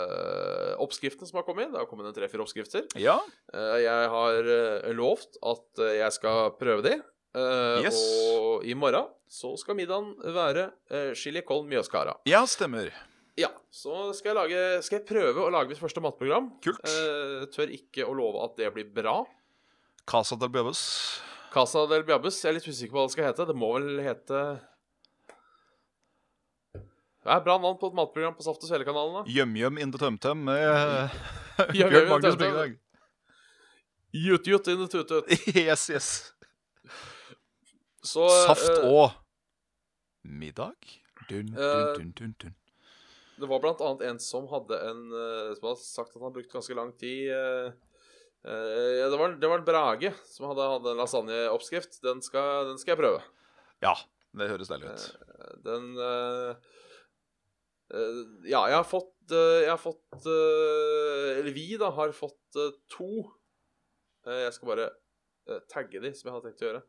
eh, oppskriftene som har kommet inn. Det har kommet en tre-fire oppskrifter. Ja. Eh, jeg har eh, lovt at eh, jeg skal prøve de. Eh, Yes. Og i morgen så skal middagen være uh, chili con mjøskara. ja, stemmer. Ja, så skal jeg, lage, skal jeg prøve å lage mitt første matprogram. Kult. Eh, tør ikke å love at det blir bra. Casa del Bebes. Casa del Biabbes, jeg er litt usikker på hva det skal hete. Det må vel hete Det er bra navn på et matprogram på Saft og Svele-kanalen, da. [laughs] Gjømhjem in the TømTøm med Gjømhjem in Bjørn the Magnus Tømtøm. Bygdag. Jut-jut in the tut-tut. [laughs] Yes, yes. Så, Saft eh, og middag. eh, Dun, dun, dun, dun, dun. Det var blant annet en som hadde en eh, Som hadde sagt at han brukte ganske lang tid eh, eh, ja, det, var, det var Brage som hadde, hadde en lasagneoppskrift. Den skal, den skal jeg prøve. Ja, det høres deilig ut. Eh, Den eh, eh, Ja, jeg har fått, eh, jeg har fått eh, Eller vi, da, har fått eh, to. Eh, jeg skal bare eh, tagge de, som jeg hadde tenkt å gjøre.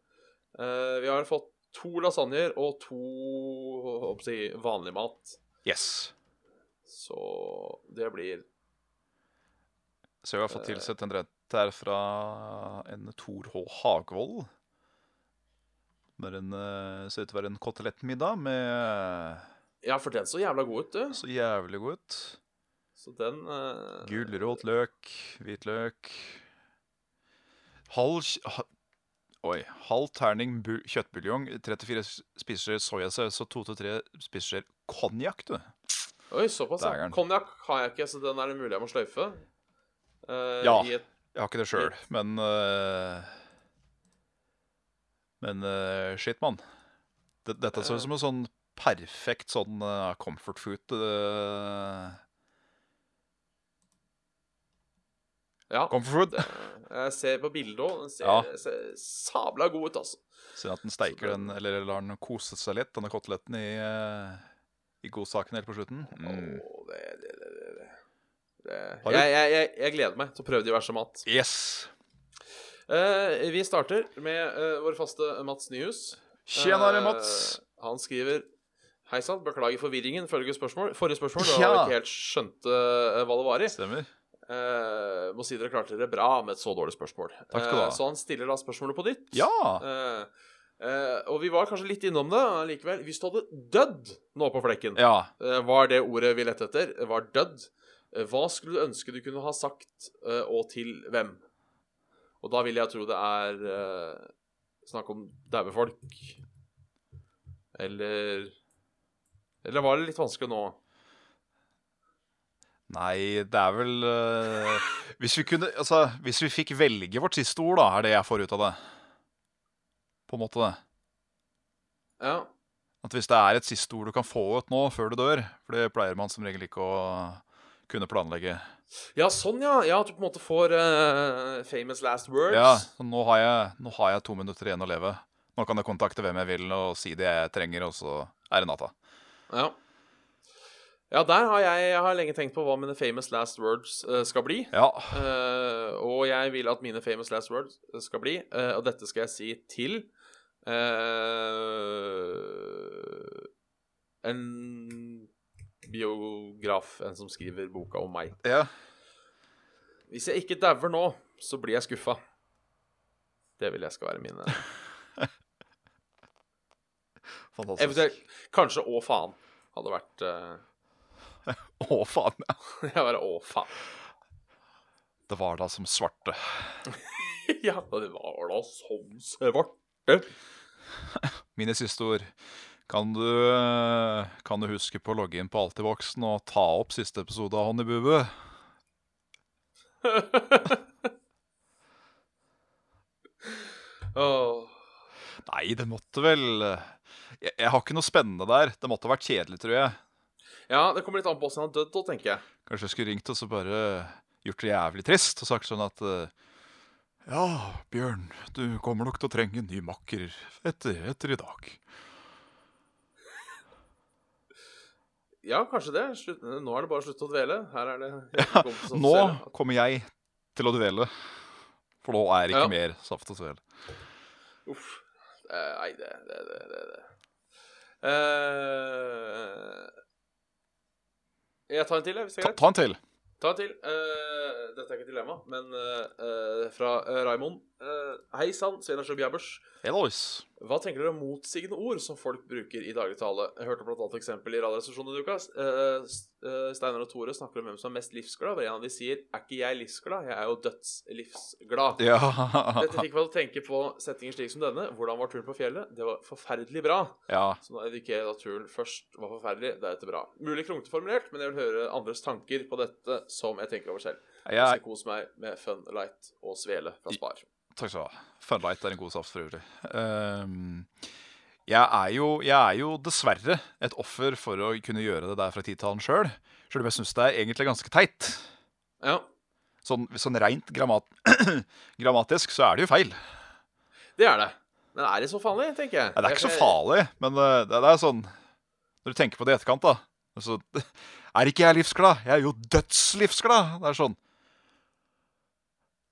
Eh, vi har fått to lasagner og to håper jeg, å si, vanlig mat. Yes. Så det blir Så jeg har fått tilsett en rett her fra en Tor H. Hagvold. Med en, eh, ser ut til å være en kotelettmiddag med eh, Ja, for den så jævla god ut, du. så jævlig god ut. Så den eh, Gulrot, løk, hvitløk Halv kj- ha, Oi. Halv terning bu- kjøttbuljong, 34 spiseskjeer soyasaus og 2-3 spiseskjeer konjakk, du. Oi, såpass. ja. Dægeren. Konjakk har jeg ikke, så den er det mulig jeg må sløyfe. Eh, Ja. I et Jeg har ikke det sjøl, men eh, Men eh, shit, mann. Det- Dette ser ut som en sånn perfekt sånn eh, comfort food. eh, Ja. comfort food. Jeg ser på bildet òg. Den ser, Ja. ser sabla god ut, altså. Synd at den steiker den, eller lar den kose seg litt, denne koteletten, i, eh, i godsaken helt på slutten. Mm. Åh, det, det, det, det, det. Det. Har du- Jeg, jeg, jeg, jeg gleder meg til å prøve diverse mat. Yes! Eh, vi starter med eh, vår faste Mats Nyhus. Tjenare, Eh, Mats. han skriver Hei sann, beklager forvirringen. Følge spørsmål. Forrige spørsmål, da dere Ja. ikke helt skjønte eh, hva det var i. Stemmer. Eh, må si dere klarte dere bra med et så dårlig spørsmål. Takk skal du ha. Eh, så han stiller da spørsmålet på nytt. Ja! Eh, eh, og vi var kanskje litt innom det men likevel. Hvis du hadde dødd nå på flekken, Ja. eh, var det ordet vi lette etter, var dødd, eh, hva skulle du ønske du kunne ha sagt, eh, og til hvem? Og da vil jeg tro det er eh, snakk om daue folk. Eller Eller var det litt vanskelig nå? Nei, det er vel eh, Hvis vi kunne Altså, hvis vi fikk velge vårt siste ord, da, er det jeg får ut av det. På en måte, det. Ja. At hvis det er et siste ord du kan få ut nå før du dør For det pleier man som regel ikke å kunne planlegge. Ja, sånn, ja. Ja, At du på en måte får eh, famous last words. Ja, så nå har, jeg, nå har jeg to minutter igjen å leve. Nå kan jeg kontakte hvem jeg vil og si det jeg trenger, og så er det natta. Ja. ja, der har jeg, jeg har lenge tenkt på hva mine famous last words eh, skal bli. Ja. Eh, og jeg vil at mine famous last words skal bli, eh, og dette skal jeg si til eh, En biograf, en som skriver boka om meg. ja. Hvis jeg ikke dauer nå, så blir jeg skuffa. Det vil jeg skal være mine. Fantastisk. Eventuelt kanskje 'å faen' hadde vært eh, [laughs] Å, faen. ja. Jeg bare 'å faen'. [laughs] Det var da som svarte. Ja, det var da som svarte. Mine siste ord. Kan du, kan du huske på å logge inn på Altivoxen og ta opp siste episode av Honeybubbe? Åh. Nei, det måtte vel jeg, jeg har ikke noe spennende der. Det måtte ha vært kjedelig, tror jeg. Ja, det kommer litt an på åssen han døde, da, tenker jeg. Kanskje jeg skulle ringt og så bare gjort det jævlig trist og sagt sånn at eh, Ja, Bjørn, du kommer nok til å trenge en ny makker etter, etter i dag. Ja, kanskje det. Slutt, nå er det bare å slutte å dvele. Her er det kompiser som Nå ser at- kommer jeg til å dvele. For nå er det ikke Ja. mer saft og svel. Uff. Eh, Nei, det det, det, det, det. Eh, jeg tar en til, jeg, hvis det er Ta, greit. ta en til. Ta en til. Eh, dette er ikke et dilemma, men eh, eh, fra eh, Raymond. Eh, Hei sann, Svein Jabbers. Hellois. Hva tenker dere om motsigende ord som folk bruker i daglig tale? Jeg hørte blant annet eksempel i Radioresepsjonen i uka. Eh, S- eh, Steinar og Tore snakker om hvem som er mest livsglad. Hvor en av de sier 'er ikke jeg livsglad, jeg er jo dødslivsglad'. Ja. [laughs] Dette fikk meg til å tenke på settinger slik som denne. Hvordan var turen på fjellet? Det var forferdelig bra. ja. Så nå indikerer at turen først var forferdelig, deretter bra. Mulig kronglete formulert, men jeg vil høre andres tanker på dette som jeg tenker over selv. Jeg Jeg, skal kose meg med Funlight og Svele fra Spar. Takk skal du ha. Funlight er en god saft for øvrig. Ehm, jeg, er jo, jeg er jo dessverre et offer for å kunne gjøre det der fra tid til annen sjøl. Sjøl om jeg syns det er egentlig ganske teit. Ja. Sånn, sånn rent grammat [clears throat] grammatisk så er det jo feil. Det er det. Men er det så farlig, tenker jeg. Nei, det er ikke så Jeg- farlig, men eh, det, det er sånn Når du tenker på det i etterkant, da så, [laughs] Er ikke jeg livsglad? Jeg er jo dødslivsglad! Det er sånn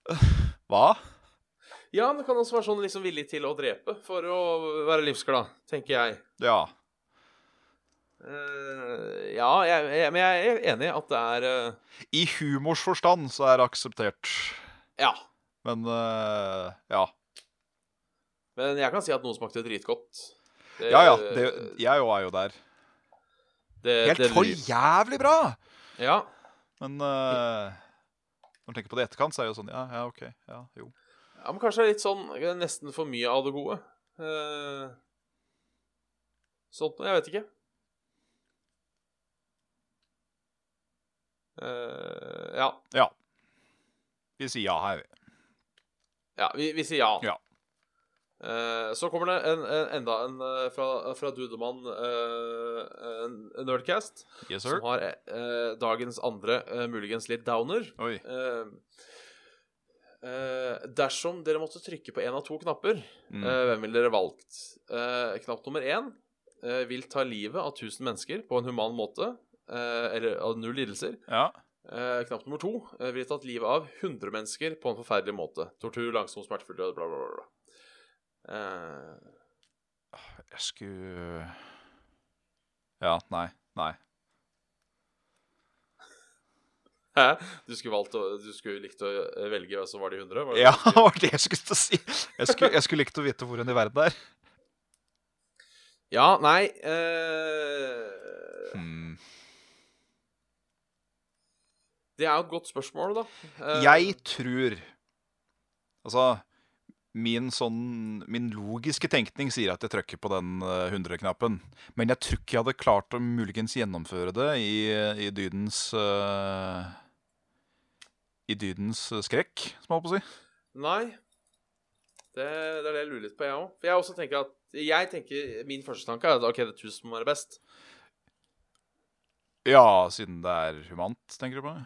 øh, Hva? Ja, men det kan også være sånn liksom villig til å drepe for å være livsglad, tenker jeg. Ja. Eh, ja, jeg, jeg, men jeg er enig i at det er eh, I humors forstand så er det akseptert. Ja. Men eh, ja. Men jeg kan si at noen smakte dritgodt. Det, Ja ja, det, jeg òg er jo der. det- Helt Eh, det- for jævlig bra! Ja. Men eh, når du tenker på det i etterkant, så er det jo sånn Ja, ja, OK. Ja, jo. ja, men kanskje det er litt sånn eh, nesten for mye av det gode. Eh, sånt noe. Jeg vet ikke. Eh, ja. Ja. Vi sier ja her, vi. Ja, vi, vi sier ja. Ja. Eh, så kommer det en, en, enda en eh, fra, fra Dudemann eh, en- en Nerdcast, Yes, som har eh, dagens andre, eh, muligens litt downer. Oi. Eh, eh, dersom dere måtte trykke på én av to knapper, Mm. eh, hvem ville dere valgt? Eh, knapp nummer én eh, vil ta livet av 1000 mennesker på en human måte, eh, eller av null lidelser. Ja. Eh, knapp nummer to eh, ville tatt livet av 100 mennesker på en forferdelig måte. Tortur, langsom, smertefull død, bla, bla, bla. bla. Eh, [laughs] Jeg skulle Ja, nei. Nei. hæ? Du skulle valgt å, Du skulle likt å eh, velge hvem som var de 100? Var det Ja, [laughs] det var det jeg skulle til å si. Jeg skulle, jeg skulle likt å vite hvor hen i verden det er. ja, nei eh, Hmm. Det er jo et godt spørsmål, da. Eh, Jeg tror Altså, min sånn Min logiske tenkning sier at jeg trykker på den eh, 100-knappen. Men jeg tror ikke jeg hadde klart å muligens gjennomføre det i, i dydens eh, I dydens eh, skrekk, som jeg holdt på å si. Nei. Det, det er det jeg lurer litt på, jeg òg. For jeg også tenker at jeg tenker, Min første tanke er at OK, det er 1000 må være best. Ja, siden det er humant, tenker du på? det?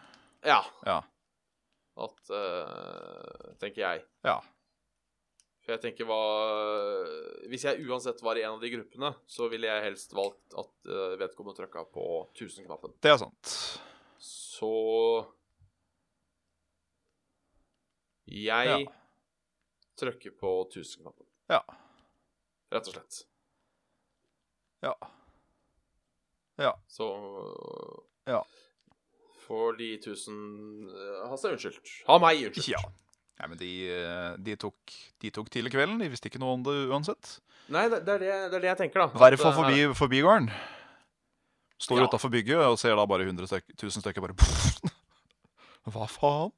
Ja. Ja. At eh, Tenker jeg. Ja. For jeg tenker hva Hvis jeg uansett var i en av de gruppene, så ville jeg helst valgt at eh, vedkommende trykka på 1000-knappen. Det er sant. Så Jeg Ja. trykker på 1000-knappen, Ja. rett og slett. Ja. Så Ja. Får de 1000 eh, Ha seg unnskyldt. Ha meg unnskyldt. Ja. Nei, men de, eh, de, tok, de tok tidlig kvelden. De visste ikke noe om det uansett. Nei, det, det, er det, det er det jeg tenker, da. At, Verf eh, forbi, forbigården. Står Ja. utafor bygget og ser da bare 100 stykk, 1000 stykker bare [laughs] Hva faen?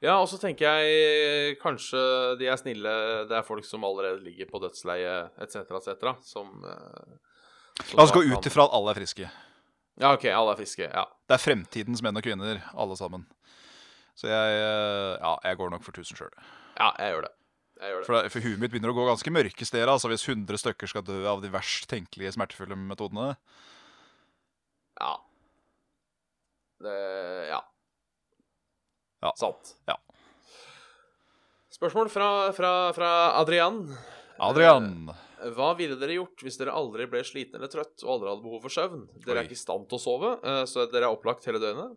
Ja, og så tenker jeg kanskje de er snille, det er folk som allerede ligger på dødsleie etc., etc., som eh, som La oss gå da ut kan- ifra at alle er friske. Ja, OK, alle er friske. Ja. Det er fremtidens menn og kvinner, alle sammen. Så jeg eh, Ja, jeg går nok for 1000 sjøl. ja, jeg gjør det. Jeg gjør det. For, det- for huet mitt begynner å gå ganske mørke steder altså hvis 100 stykker skal dø av de verst tenkelige smertefulle metodene. Ja. Det, ja. Ja. Sant. Ja. Spørsmål fra, fra, fra Adrian. Adrian. Hva ville dere gjort hvis dere aldri ble sliten eller trøtt og aldri hadde behov for søvn? Dere Oi. er ikke i stand til å sove, eh, så dere er opplagt hele døgnet.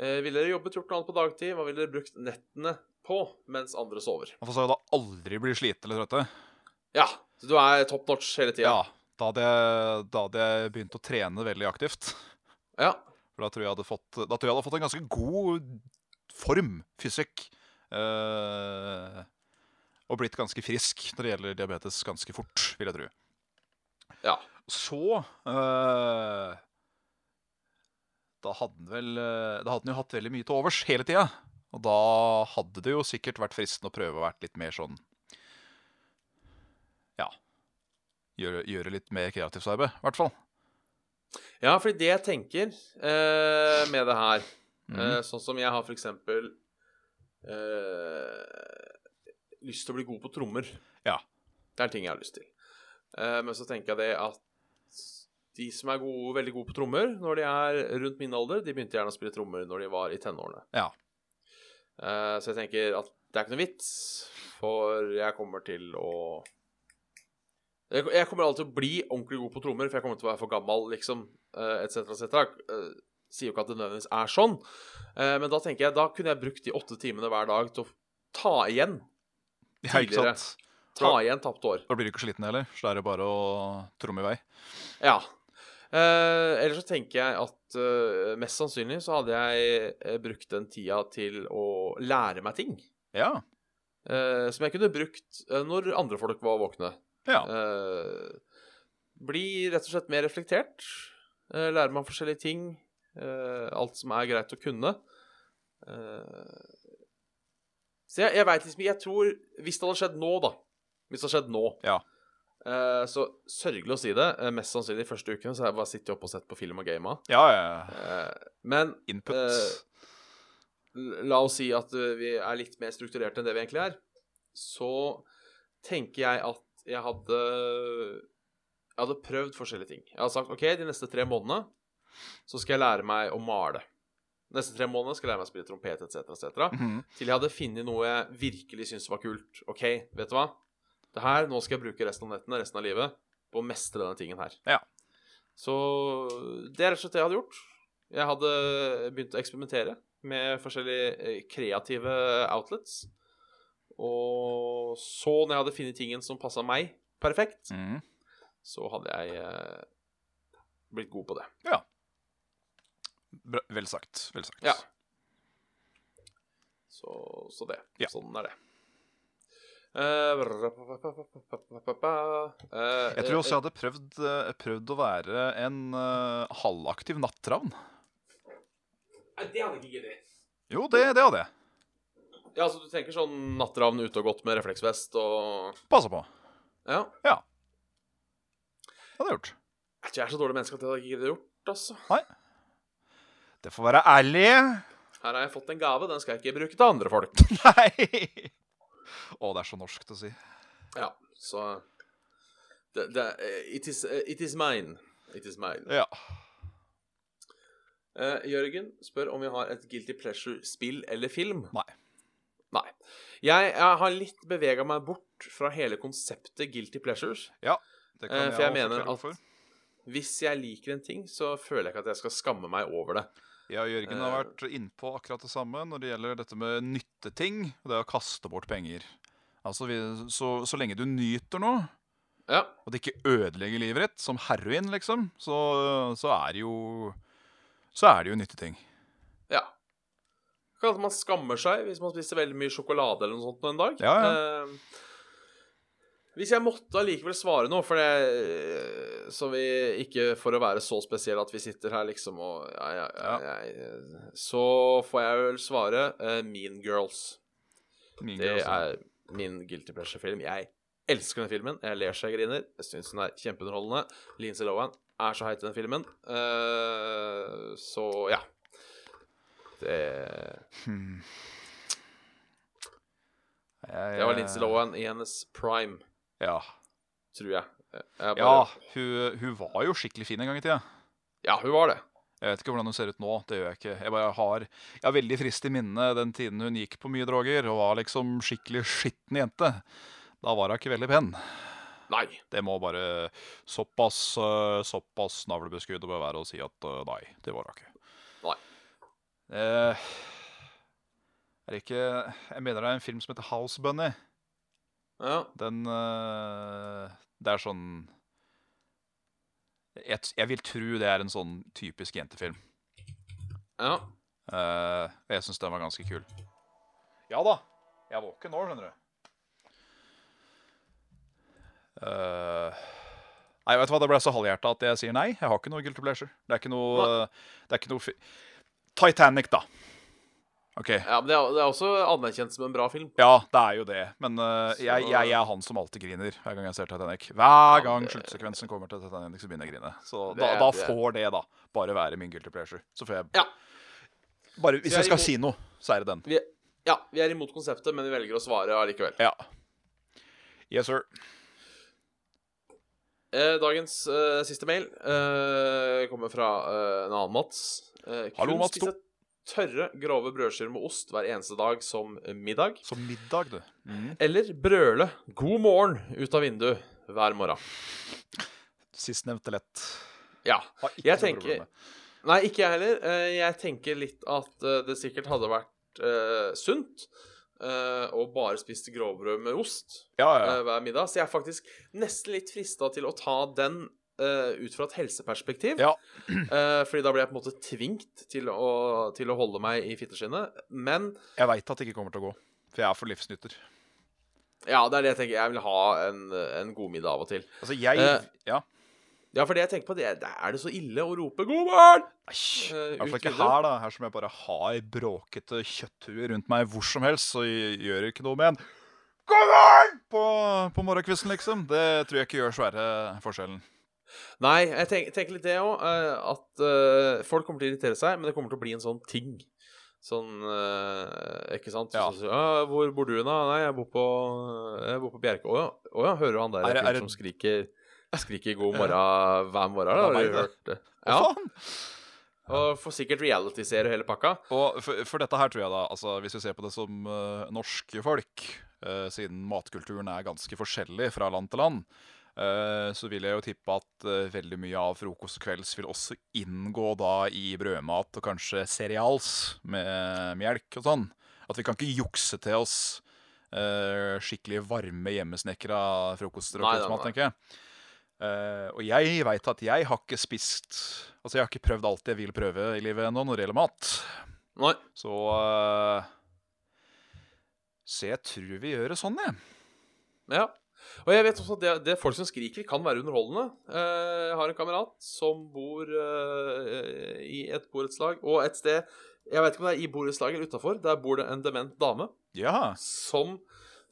Eh, Ville dere jobbet gjort noe annet på dagtid? Hva ville dere brukt nettene på mens andre sover? Hvorfor sa jeg da aldri bli sliten eller trøtte? Ja, så du er top notch hele Ja, tida. da hadde, jeg, da hadde jeg begynt å trene veldig aktivt. Ja. For da tror jeg jeg hadde fått, da tror jeg jeg hadde fått en ganske god form, fysikk, Eh, og blitt ganske frisk når det gjelder diabetes ganske fort, vil jeg tro. Ja. Så eh, Da hadde han vel eh, Da hadde han jo hatt veldig mye til overs hele tida. Og da hadde det jo sikkert vært fristende å prøve å være litt mer sånn Ja. Gjøre, gjøre litt mer kreativt arbeid, i hvert fall. Ja, fordi det jeg tenker eh, med det her Mhm. eh, Sånn som jeg har for eksempel eh, lyst til å bli god på trommer. Ja. Det er en ting jeg har lyst til. Eh, men så tenker jeg det at de som er gode, veldig gode på trommer når de er rundt min alder, de begynte gjerne å spille trommer når de var i tenårene. Ja. Eh, så jeg tenker at det er ikke noe vits, for jeg kommer til å jeg, jeg kommer alltid til å bli ordentlig god på trommer, for jeg kommer til å være for gammel, liksom, etc., etc. eh, Sier jo ikke at det nødvendigvis er sånn, eh, men da tenker jeg da kunne jeg brukt de åtte timene hver dag til å ta igjen. Ja, ikke Tidligere. sant? Ta igjen tapte år. Da blir du ikke sliten heller, så da er det bare å tromme i vei. Ja. Eh, ellers så tenker jeg at eh, mest sannsynlig så hadde jeg eh, brukt den tida til å lære meg ting. Ja. eh, som jeg kunne brukt eh, når andre folk var våkne. ja. Eh, bli rett og slett mer reflektert. Eh, lære meg forskjellige ting. eh, alt som er greit å kunne. Eh, så jeg, jeg veit liksom Jeg tror Hvis det hadde skjedd nå, da Hvis det hadde skjedd nå Ja. eh, Så sørgelig å si det. eh, Mest sannsynlig de første ukene så har jeg bare sittet oppe og sett på film og gama. Ja, ja. Eh, men Input. Eh, l- la oss si at eh, vi er litt mer strukturerte enn det vi egentlig er, så tenker jeg at jeg hadde Jeg hadde prøvd forskjellige ting. Jeg hadde sagt OK, de neste tre månedene så skal jeg lære meg å male. Neste tre månedene skal jeg lære meg å spille trompet etc., etc. Mhm. Til jeg hadde funnet noe jeg virkelig syntes var kult. OK, vet du hva? Det her, nå skal jeg bruke resten av nettene, resten av livet, på å mestre denne tingen her. Ja. Så det er rett og slett det jeg hadde gjort. Jeg hadde begynt å eksperimentere med forskjellige eh, kreative outlets. Og så, når jeg hadde funnet tingen som passa meg perfekt, Mhm. så hadde jeg eh, blitt god på det. Bra. Vel sagt. Vel sagt. Ja. Så, så det. Ja. Sånn er det. Eh, eh, Jeg tror også jeg hadde prøvd, eh, prøvd å være en eh, halvaktiv natteravn. Nei, Det hadde jeg ikke giddet. Jo, det, det hadde jeg. Ja, så du tenker sånn natteravn ute og gått med refleksvest og Passa på. Ja. Det hadde jeg gjort. Jeg tror jeg er så dårlig menneske at jeg hadde ikke giddet gjort, altså. Det får være ærlig. [laughs] Her har jeg fått en gave, den skal jeg ikke bruke til andre folk. Nei. Å, det er så norsk å si. Ja, så det, det, eh, it, is, it is mine. It is mine. Ja. Eh, Jørgen spør om vi har et Guilty Pleasure-spill eller film. Nei. Nei. Jeg, jeg har litt bevega meg bort fra hele konseptet Guilty Pleasures. Det Eh, for jeg også mener forklare at- hvorfor. Hvis jeg liker en ting, så føler jeg ikke at jeg skal skamme meg over det. Jeg og Jørgen har Eh. vært innpå akkurat det samme når det gjelder dette med nytteting. og Det å kaste bort penger. Altså, vi, så, så lenge du nyter noe, Ja, og det ikke ødelegger livet ditt, som heroin, liksom, så, så er det jo Så er det jo nytteting. ja. Kan hende man skammer seg hvis man spiser veldig mye sjokolade eller noe sånt på en dag. Ja, Eh, hvis jeg måtte allikevel svare noe, for det Så vi ikke for å være så spesielle at vi sitter her liksom og ja, ja, ja, jeg- Så får jeg vel svare eh, Mean Girls. Min Det greie, altså. er min guilty pleasure-film. Jeg elsker den filmen. Jeg ler så jeg griner. Jeg syns den er kjempeunderholdende. Lindsay Lohan er så heit i den filmen. Eh, så ja. Det, Hmm. Jeg, det var Lindsay Lohan i hennes prime, Ja. tror jeg. jeg ja bare, hun, hun var jo skikkelig fin en gang i tida. ja, hun var det. Jeg vet ikke hvordan hun ser ut nå. det gjør Jeg ikke. Jeg bare har, jeg har veldig frist i minne den tiden hun gikk på mye droger og var liksom skikkelig skitten jente. Da var hun ikke veldig pen. Nei. Det må bare såpass, eh, såpass navlebeskudd å bare være å si at eh, nei, det var hun ikke. Nei. Eh, er det ikke Jeg mener det er en film som heter House Bunny. Ja. Den eh, Det er sånn jeg, t- jeg vil tro det er en sånn typisk jentefilm. ja. Eh, og jeg syns den var ganske kul. Ja da. Jeg er våken nå, skjønner du. Eh, nei, vet du hva, det ble så halvhjerta at jeg sier nei. Jeg har ikke noe guilty pleasure. Det er ikke noe, eh, det er ikke noe fi Titanic, da. OK. Ja, men det er, det er også anerkjent som en bra film. Ja, det er jo det. Men eh, jeg, jeg, jeg er han som alltid griner hver gang jeg ser Titanic. Hver gang sluttsekvensen kommer til Titanic, så begynner jeg å grine. Så Det da, er- da det er- får det, da, bare være min guilty pleasure. Så får jeg Ja. Bare hvis Så jeg jeg er skal imot- si noe, så er det den. Vi, ja, vi er imot konseptet, men vi velger å svare allikevel. Ja. Yes, sir. Eh, dagens eh, siste mail eh, kommer fra eh, en annen Mats. Eh, Hallo, kun Mats spise Tørre, grove brødskiver med ost hver eneste dag som eh, middag. Så middag, du. Eller brøle 'god morgen' ut av vinduet hver morgen. Sistnevnte lett. Ja. Har ikke Jeg noe tenker- problem med. Nei, ikke jeg heller. Eh, Jeg tenker litt at eh, det sikkert hadde vært eh, sunt eh, å bare spise grovbrød med ost Ja, ja. eh, hver middag. Så jeg er faktisk nesten litt frista til å ta den eh, ut fra et helseperspektiv. Ja. Eh, fordi da blir jeg på en måte tvingt til å, til å holde meg i fitteskinnet. Men Jeg veit at det ikke kommer til å gå, for jeg er for livsnytter. ja, det er det jeg tenker. Jeg vil ha en, en god middag av og til. Altså, jeg Eh, Ja. Ja, for det jeg tenker på, det er, er det så ille å rope 'god morgen'? Æsj. eh, I hvert fall ut ikke vinduet? her, da. Her som jeg bare har bråkete kjøtthuer rundt meg hvor som helst, så jeg gjør ikke noe med en God morgen! På, på morgenkvisten, liksom. Det tror jeg ikke gjør svære forskjellen. Nei, jeg tenker, tenker litt det òg. at eh, folk kommer til å irritere seg, men det kommer til å bli en sånn ting. Sånn eh, Ikke sant? Ja. Så, så, «Ja, 'Hvor bor du, da?' 'Nei, jeg bor på, jeg bor på Bjerke.' Å ja. å ja, hører du han der Er det- fyren er det- som skriker Skriker [laughs] 'god morgen' hver morgen? Da, Det er har du meg, hørt det? Å, Ja, faen! og får sikkert reality-serie hele pakka. Og for, for dette her tror jeg da, altså hvis vi ser på det som eh, norske folk, eh, siden matkulturen er ganske forskjellig fra land til land, eh, så vil jeg jo tippe at eh, veldig mye av frokost og kvelds vil også inngå da i brødmat og kanskje cereals med melk og sånn. At vi kan ikke jukse til oss eh, skikkelig varme hjemmesnekra frokoster og Nei, nei, kveldsmat, nei. tenker jeg. Eh, og jeg veit at jeg har ikke spist Altså, jeg har ikke prøvd alt jeg vil prøve i livet ennå når det gjelder mat. Nei. Så eh, Så jeg tror vi gjør det sånn, jeg. Ja. Og jeg vet også at det, det folk som skriker, kan være underholdende. Eh, Jeg har en kamerat som bor eh, i et borettslag, og et sted Jeg vet ikke om det er i borettslaget eller utafor. Der bor det en dement dame Ja. som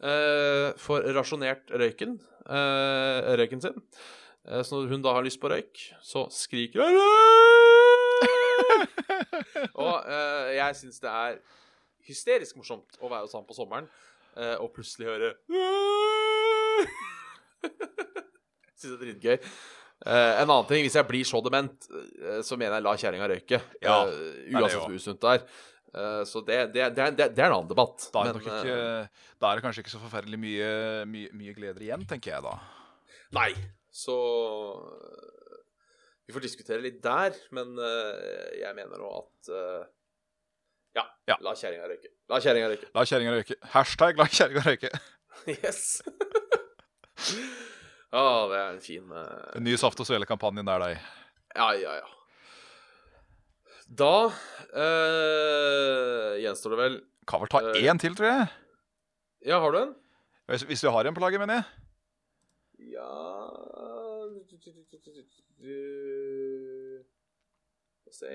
eh, får rasjonert røyken eh, røyken sin. Eh, så når hun da har lyst på røyk, så skriker hun Og eh, jeg syns det er hysterisk morsomt å være hos han på sommeren eh, og plutselig høre [laughs] Syns det er dritgøy. Eh, en annen ting, hvis jeg blir så dement, eh, så mener jeg la kjerringa røyke. Ja, Eh, er det uansett jo. hvor usunt det er. Eh, så det, det, det, det, det er en annen debatt. Da er, det men, nok ikke, eh, da er det kanskje ikke så forferdelig mye, mye, mye gleder igjen, tenker jeg da. Nei. Så øh, Vi får diskutere litt der, men øh, jeg mener nå at øh, ja, Ja. la kjerringa røyke. La kjerringa [laughs] røyke. La kjerringa røyke. Hashtag la kjerringa røyke. Yes. [laughs] Ja, det er en fin øh, En ny Saft og Svele-kampanje nær deg. Ja, ja, ja. Da øh, gjenstår det vel Kan vel ta Eh. én til, tror jeg. Ja, har du en? Hvis, hvis vi har en på laget, mener jeg. Ja Få se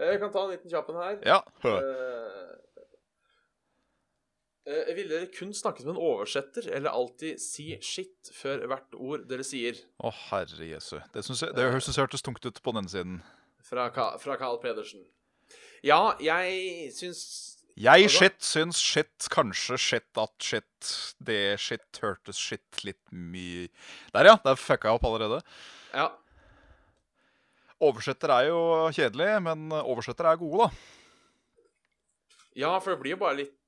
Jeg kan ta en liten kjapp en her. Ja. Eh, eh, ville dere kun snakket med en oversetter, eller alltid si shit før hvert ord dere sier? Å, herre jesu. Det, synes jeg, det høres- synes jeg hørtes tungt ut på denne siden. Fra, Ka fra Carl Pedersen. Ja, jeg syns Hva Jeg da? shit syns shit, kanskje shit at shit, det shit hørtes shit litt mye Der, ja. Der fucka jeg opp allerede. Ja. Oversetter er jo kjedelig, men oversetter er gode, da. ja, for det blir jo bare litt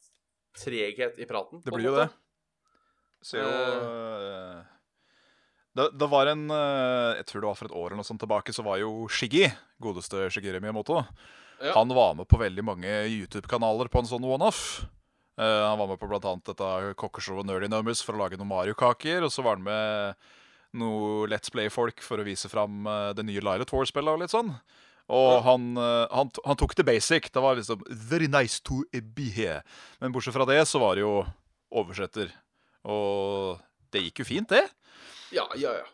treghet i praten. Det på en blir jo det. måte. Så jo eh, det, det var en eh, Jeg tror det var for et år eller noe sånt tilbake, så var jo Shiggy, godeste Shigeru Miyamoto, Ja. han var med på veldig mange YouTube-kanaler på en sånn one-off. Eh, han var med på blant annet dette kokkeshowet Nerdy Numbers for å lage noen Mario-kaker, og så var han med noe Let's Play-folk for å vise fram eh, det nye Lyra Tour-spillet og litt sånn. Og han, eh, han, t- han tok det basic. Det var liksom Very nice to be here. Men bortsett fra det så var det jo oversetter. Og det gikk jo fint, det. Ja, ja, ja.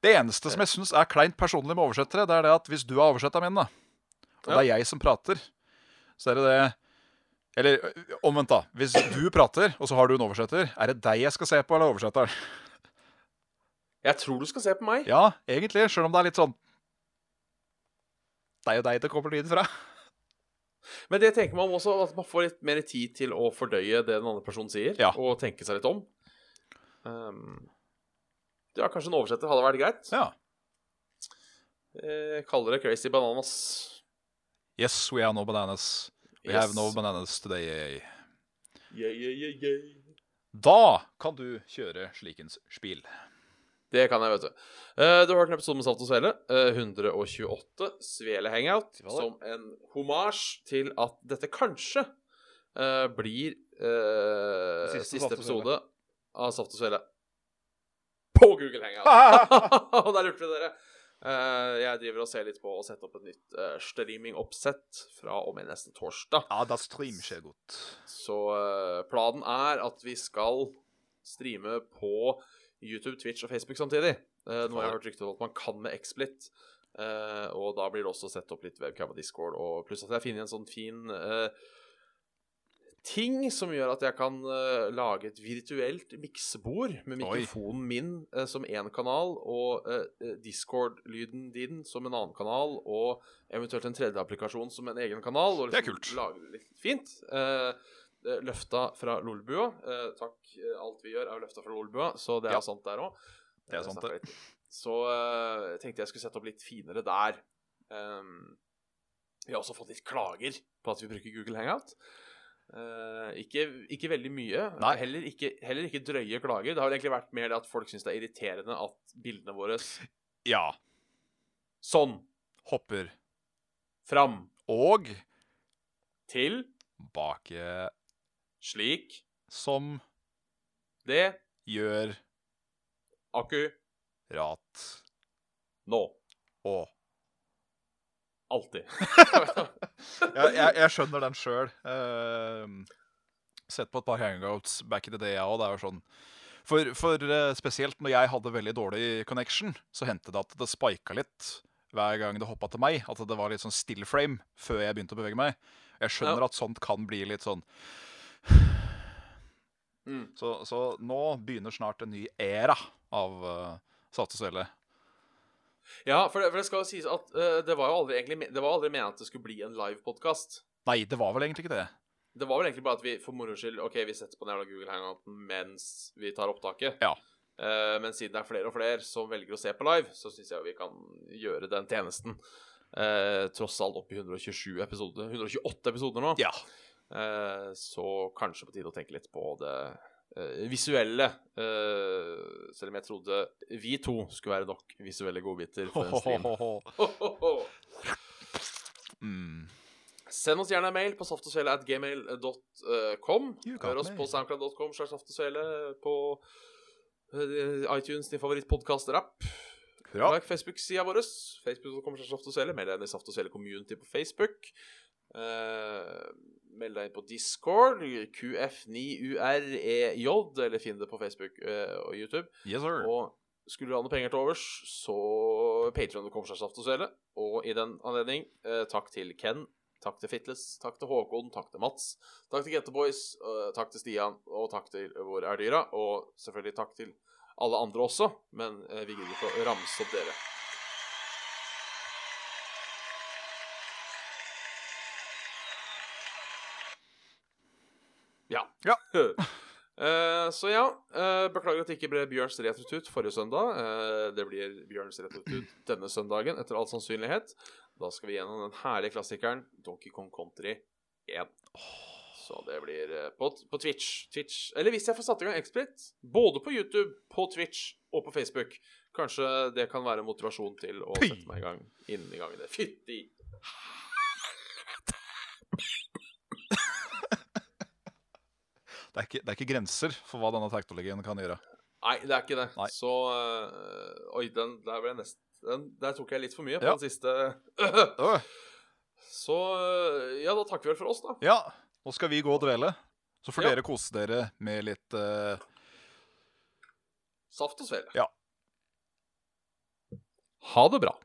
Det eneste som jeg syns er kleint personlig med oversettere, det er det at hvis du er oversetteren min, da, og det er jeg som prater, så er det det Eller ø, omvendt, da. Hvis du prater, og så har du en oversetter, er det deg jeg skal se på, eller oversetteren? Jeg tror du skal se på meg. Ja, egentlig, sjøl om det er litt sånn Det er jo deg det kommer lyden fra. Men det tenker man også, at man får litt mer tid til å fordøye det den andre personen sier, Ja. og tenke seg litt om. Ehm, ja, kanskje en oversetter hadde vært greit. Ja. Eh, kaller det crazy bananas. Yes, we are no bananas. We have no bananas today. eh. Yeah, yeah, yeah, yeah. Da kan du kjøre slikens [laughs] spill. Det kan jeg, vet du. Eh, du har hørt en episode med Saft og Svele. eh, 128. Svele Hangout. Fy fader. Som en homasj til at dette kanskje eh, blir eh, Siste siste, Saft og episode av Saft og Svele på Google [laughs] Hangout. [laughs] Og der lurte vi dere. Eh, jeg driver og ser litt på å sette opp et nytt eh, streamingoppsett fra og med neste torsdag. Ja, da streamer seg godt. Så eh, planen er at vi skal streame på YouTube, Twitch og Facebook samtidig. Eh, nå har jeg hørt rykter om at man kan med XSplit. eh, og da blir det også sett opp litt webcam og Discord, og pluss at jeg finner en sånn fin eh, ting som gjør at jeg kan eh, lage et virtuelt miksebord med Oi. mikrofonen min eh, som én kanal, og eh, eh, Discord-lyden din som en annen kanal, og eventuelt en tredje applikasjon som en egen kanal. Og liksom Det er kult. Lage det litt fint. Eh, eh, løfta fra Lolbua. Eh, takk, eh, alt vi gjør er jo løfta fra Lolbua, så det er Ja. sant der òg. Det er sant, det. Så eh, jeg tenkte jeg skulle sette opp litt finere der. Ehm, vi har også fått litt klager på at vi bruker Google Hangout. Eh, ikke, ikke veldig mye. Nei. Heller, ikke, heller ikke drøye klager. Det har vel egentlig vært mer det at folk syns det er irriterende at bildene våre s- Ja. sånn Hopper. fram Og til bake slik som det gjør akkurat rat nå. og [laughs] Alltid. jeg, jeg, jeg skjønner den sjøl. sett på et par hangouts back in the day, jeg òg. Det er jo sånn For, for eh, spesielt når jeg hadde veldig dårlig connection, så hendte det at det spika litt hver gang det hoppa til meg. At det var litt sånn still frame før jeg begynte å bevege meg. Jeg skjønner Ja. at sånt kan bli litt sånn Mm. Så, så nå begynner snart en ny æra av uh, Saft og Svele. Ja, for det, for det skal jo sies at eh, det var jo aldri egentlig me- Det var aldri meningen at det skulle bli en livepodkast. Nei, det var vel egentlig ikke det. Det var vel egentlig bare at vi for moro skyld Ok, vi setter på den jævla Google Hangouten mens vi tar opptaket. Ja. Eh, men siden det er flere og flere som velger å se på live, så syns jeg jo vi kan gjøre den tjenesten. Eh, tross alt opp i 127 episoder 128 episoder nå. Ja. Eh, så kanskje på tide å tenke litt på det eh, visuelle. Eh, selv om jeg trodde vi to skulle være nok visuelle godbiter for [laughs] en stream. Mm. Send oss gjerne en mail på saftogsvele at gmail.com. You got Hør oss mail. på soundcloud.com slags saftogsvele på eh, iTunes, din favorittpodkast-rapp. Hurra. Like Facebook-sida vår. Facebook.com slags saftogsvele. Meld deg inn i Saft og Svele community på Facebook. Eh, meld deg inn på Discord, QF9UREJ, E eller finn det på Facebook eh, og YouTube. Yes, sir. Og skulle du ha noen penger til overs, så Patreon kommer seg saft og svele. Og i den anledning, eh, takk til Ken, takk til Fitles, takk til Håkon, takk til Mats, takk til Gette Boys, eh, takk til Stian, og takk til Hvor er dyra? Og selvfølgelig takk til alle andre også, men eh, vi gidder ikke å ramse opp dere. Ja. Ja. Eh, så ja, eh, beklager at det ikke ble Bjørns retrotut forrige søndag. Eh, det blir Bjørns retrotut denne søndagen, etter all sannsynlighet. Da skal vi gjennom den herlige klassikeren Donkey Kong Country 1. Så det blir eh, på, på Twitch. Twitch. Eller hvis jeg får satt i gang Explit, både på YouTube, på Twitch og på Facebook. Kanskje det kan være motivasjon til å Py! sette meg i gang innen i gangene. Fytti! Det er, ikke, det er ikke grenser for hva denne teknologien kan gjøre. Nei, det er ikke det. Nei. Så øh, Oi, den der ble jeg nesten Den, der tok jeg litt for mye på Ja. den siste. [laughs] Åh, Så eh, ja, da takker vi vel for oss, da. Ja, nå skal vi gå og dvele. Så får Ja. dere kose dere med litt eh, Saft og svele. Ja. Ha det bra.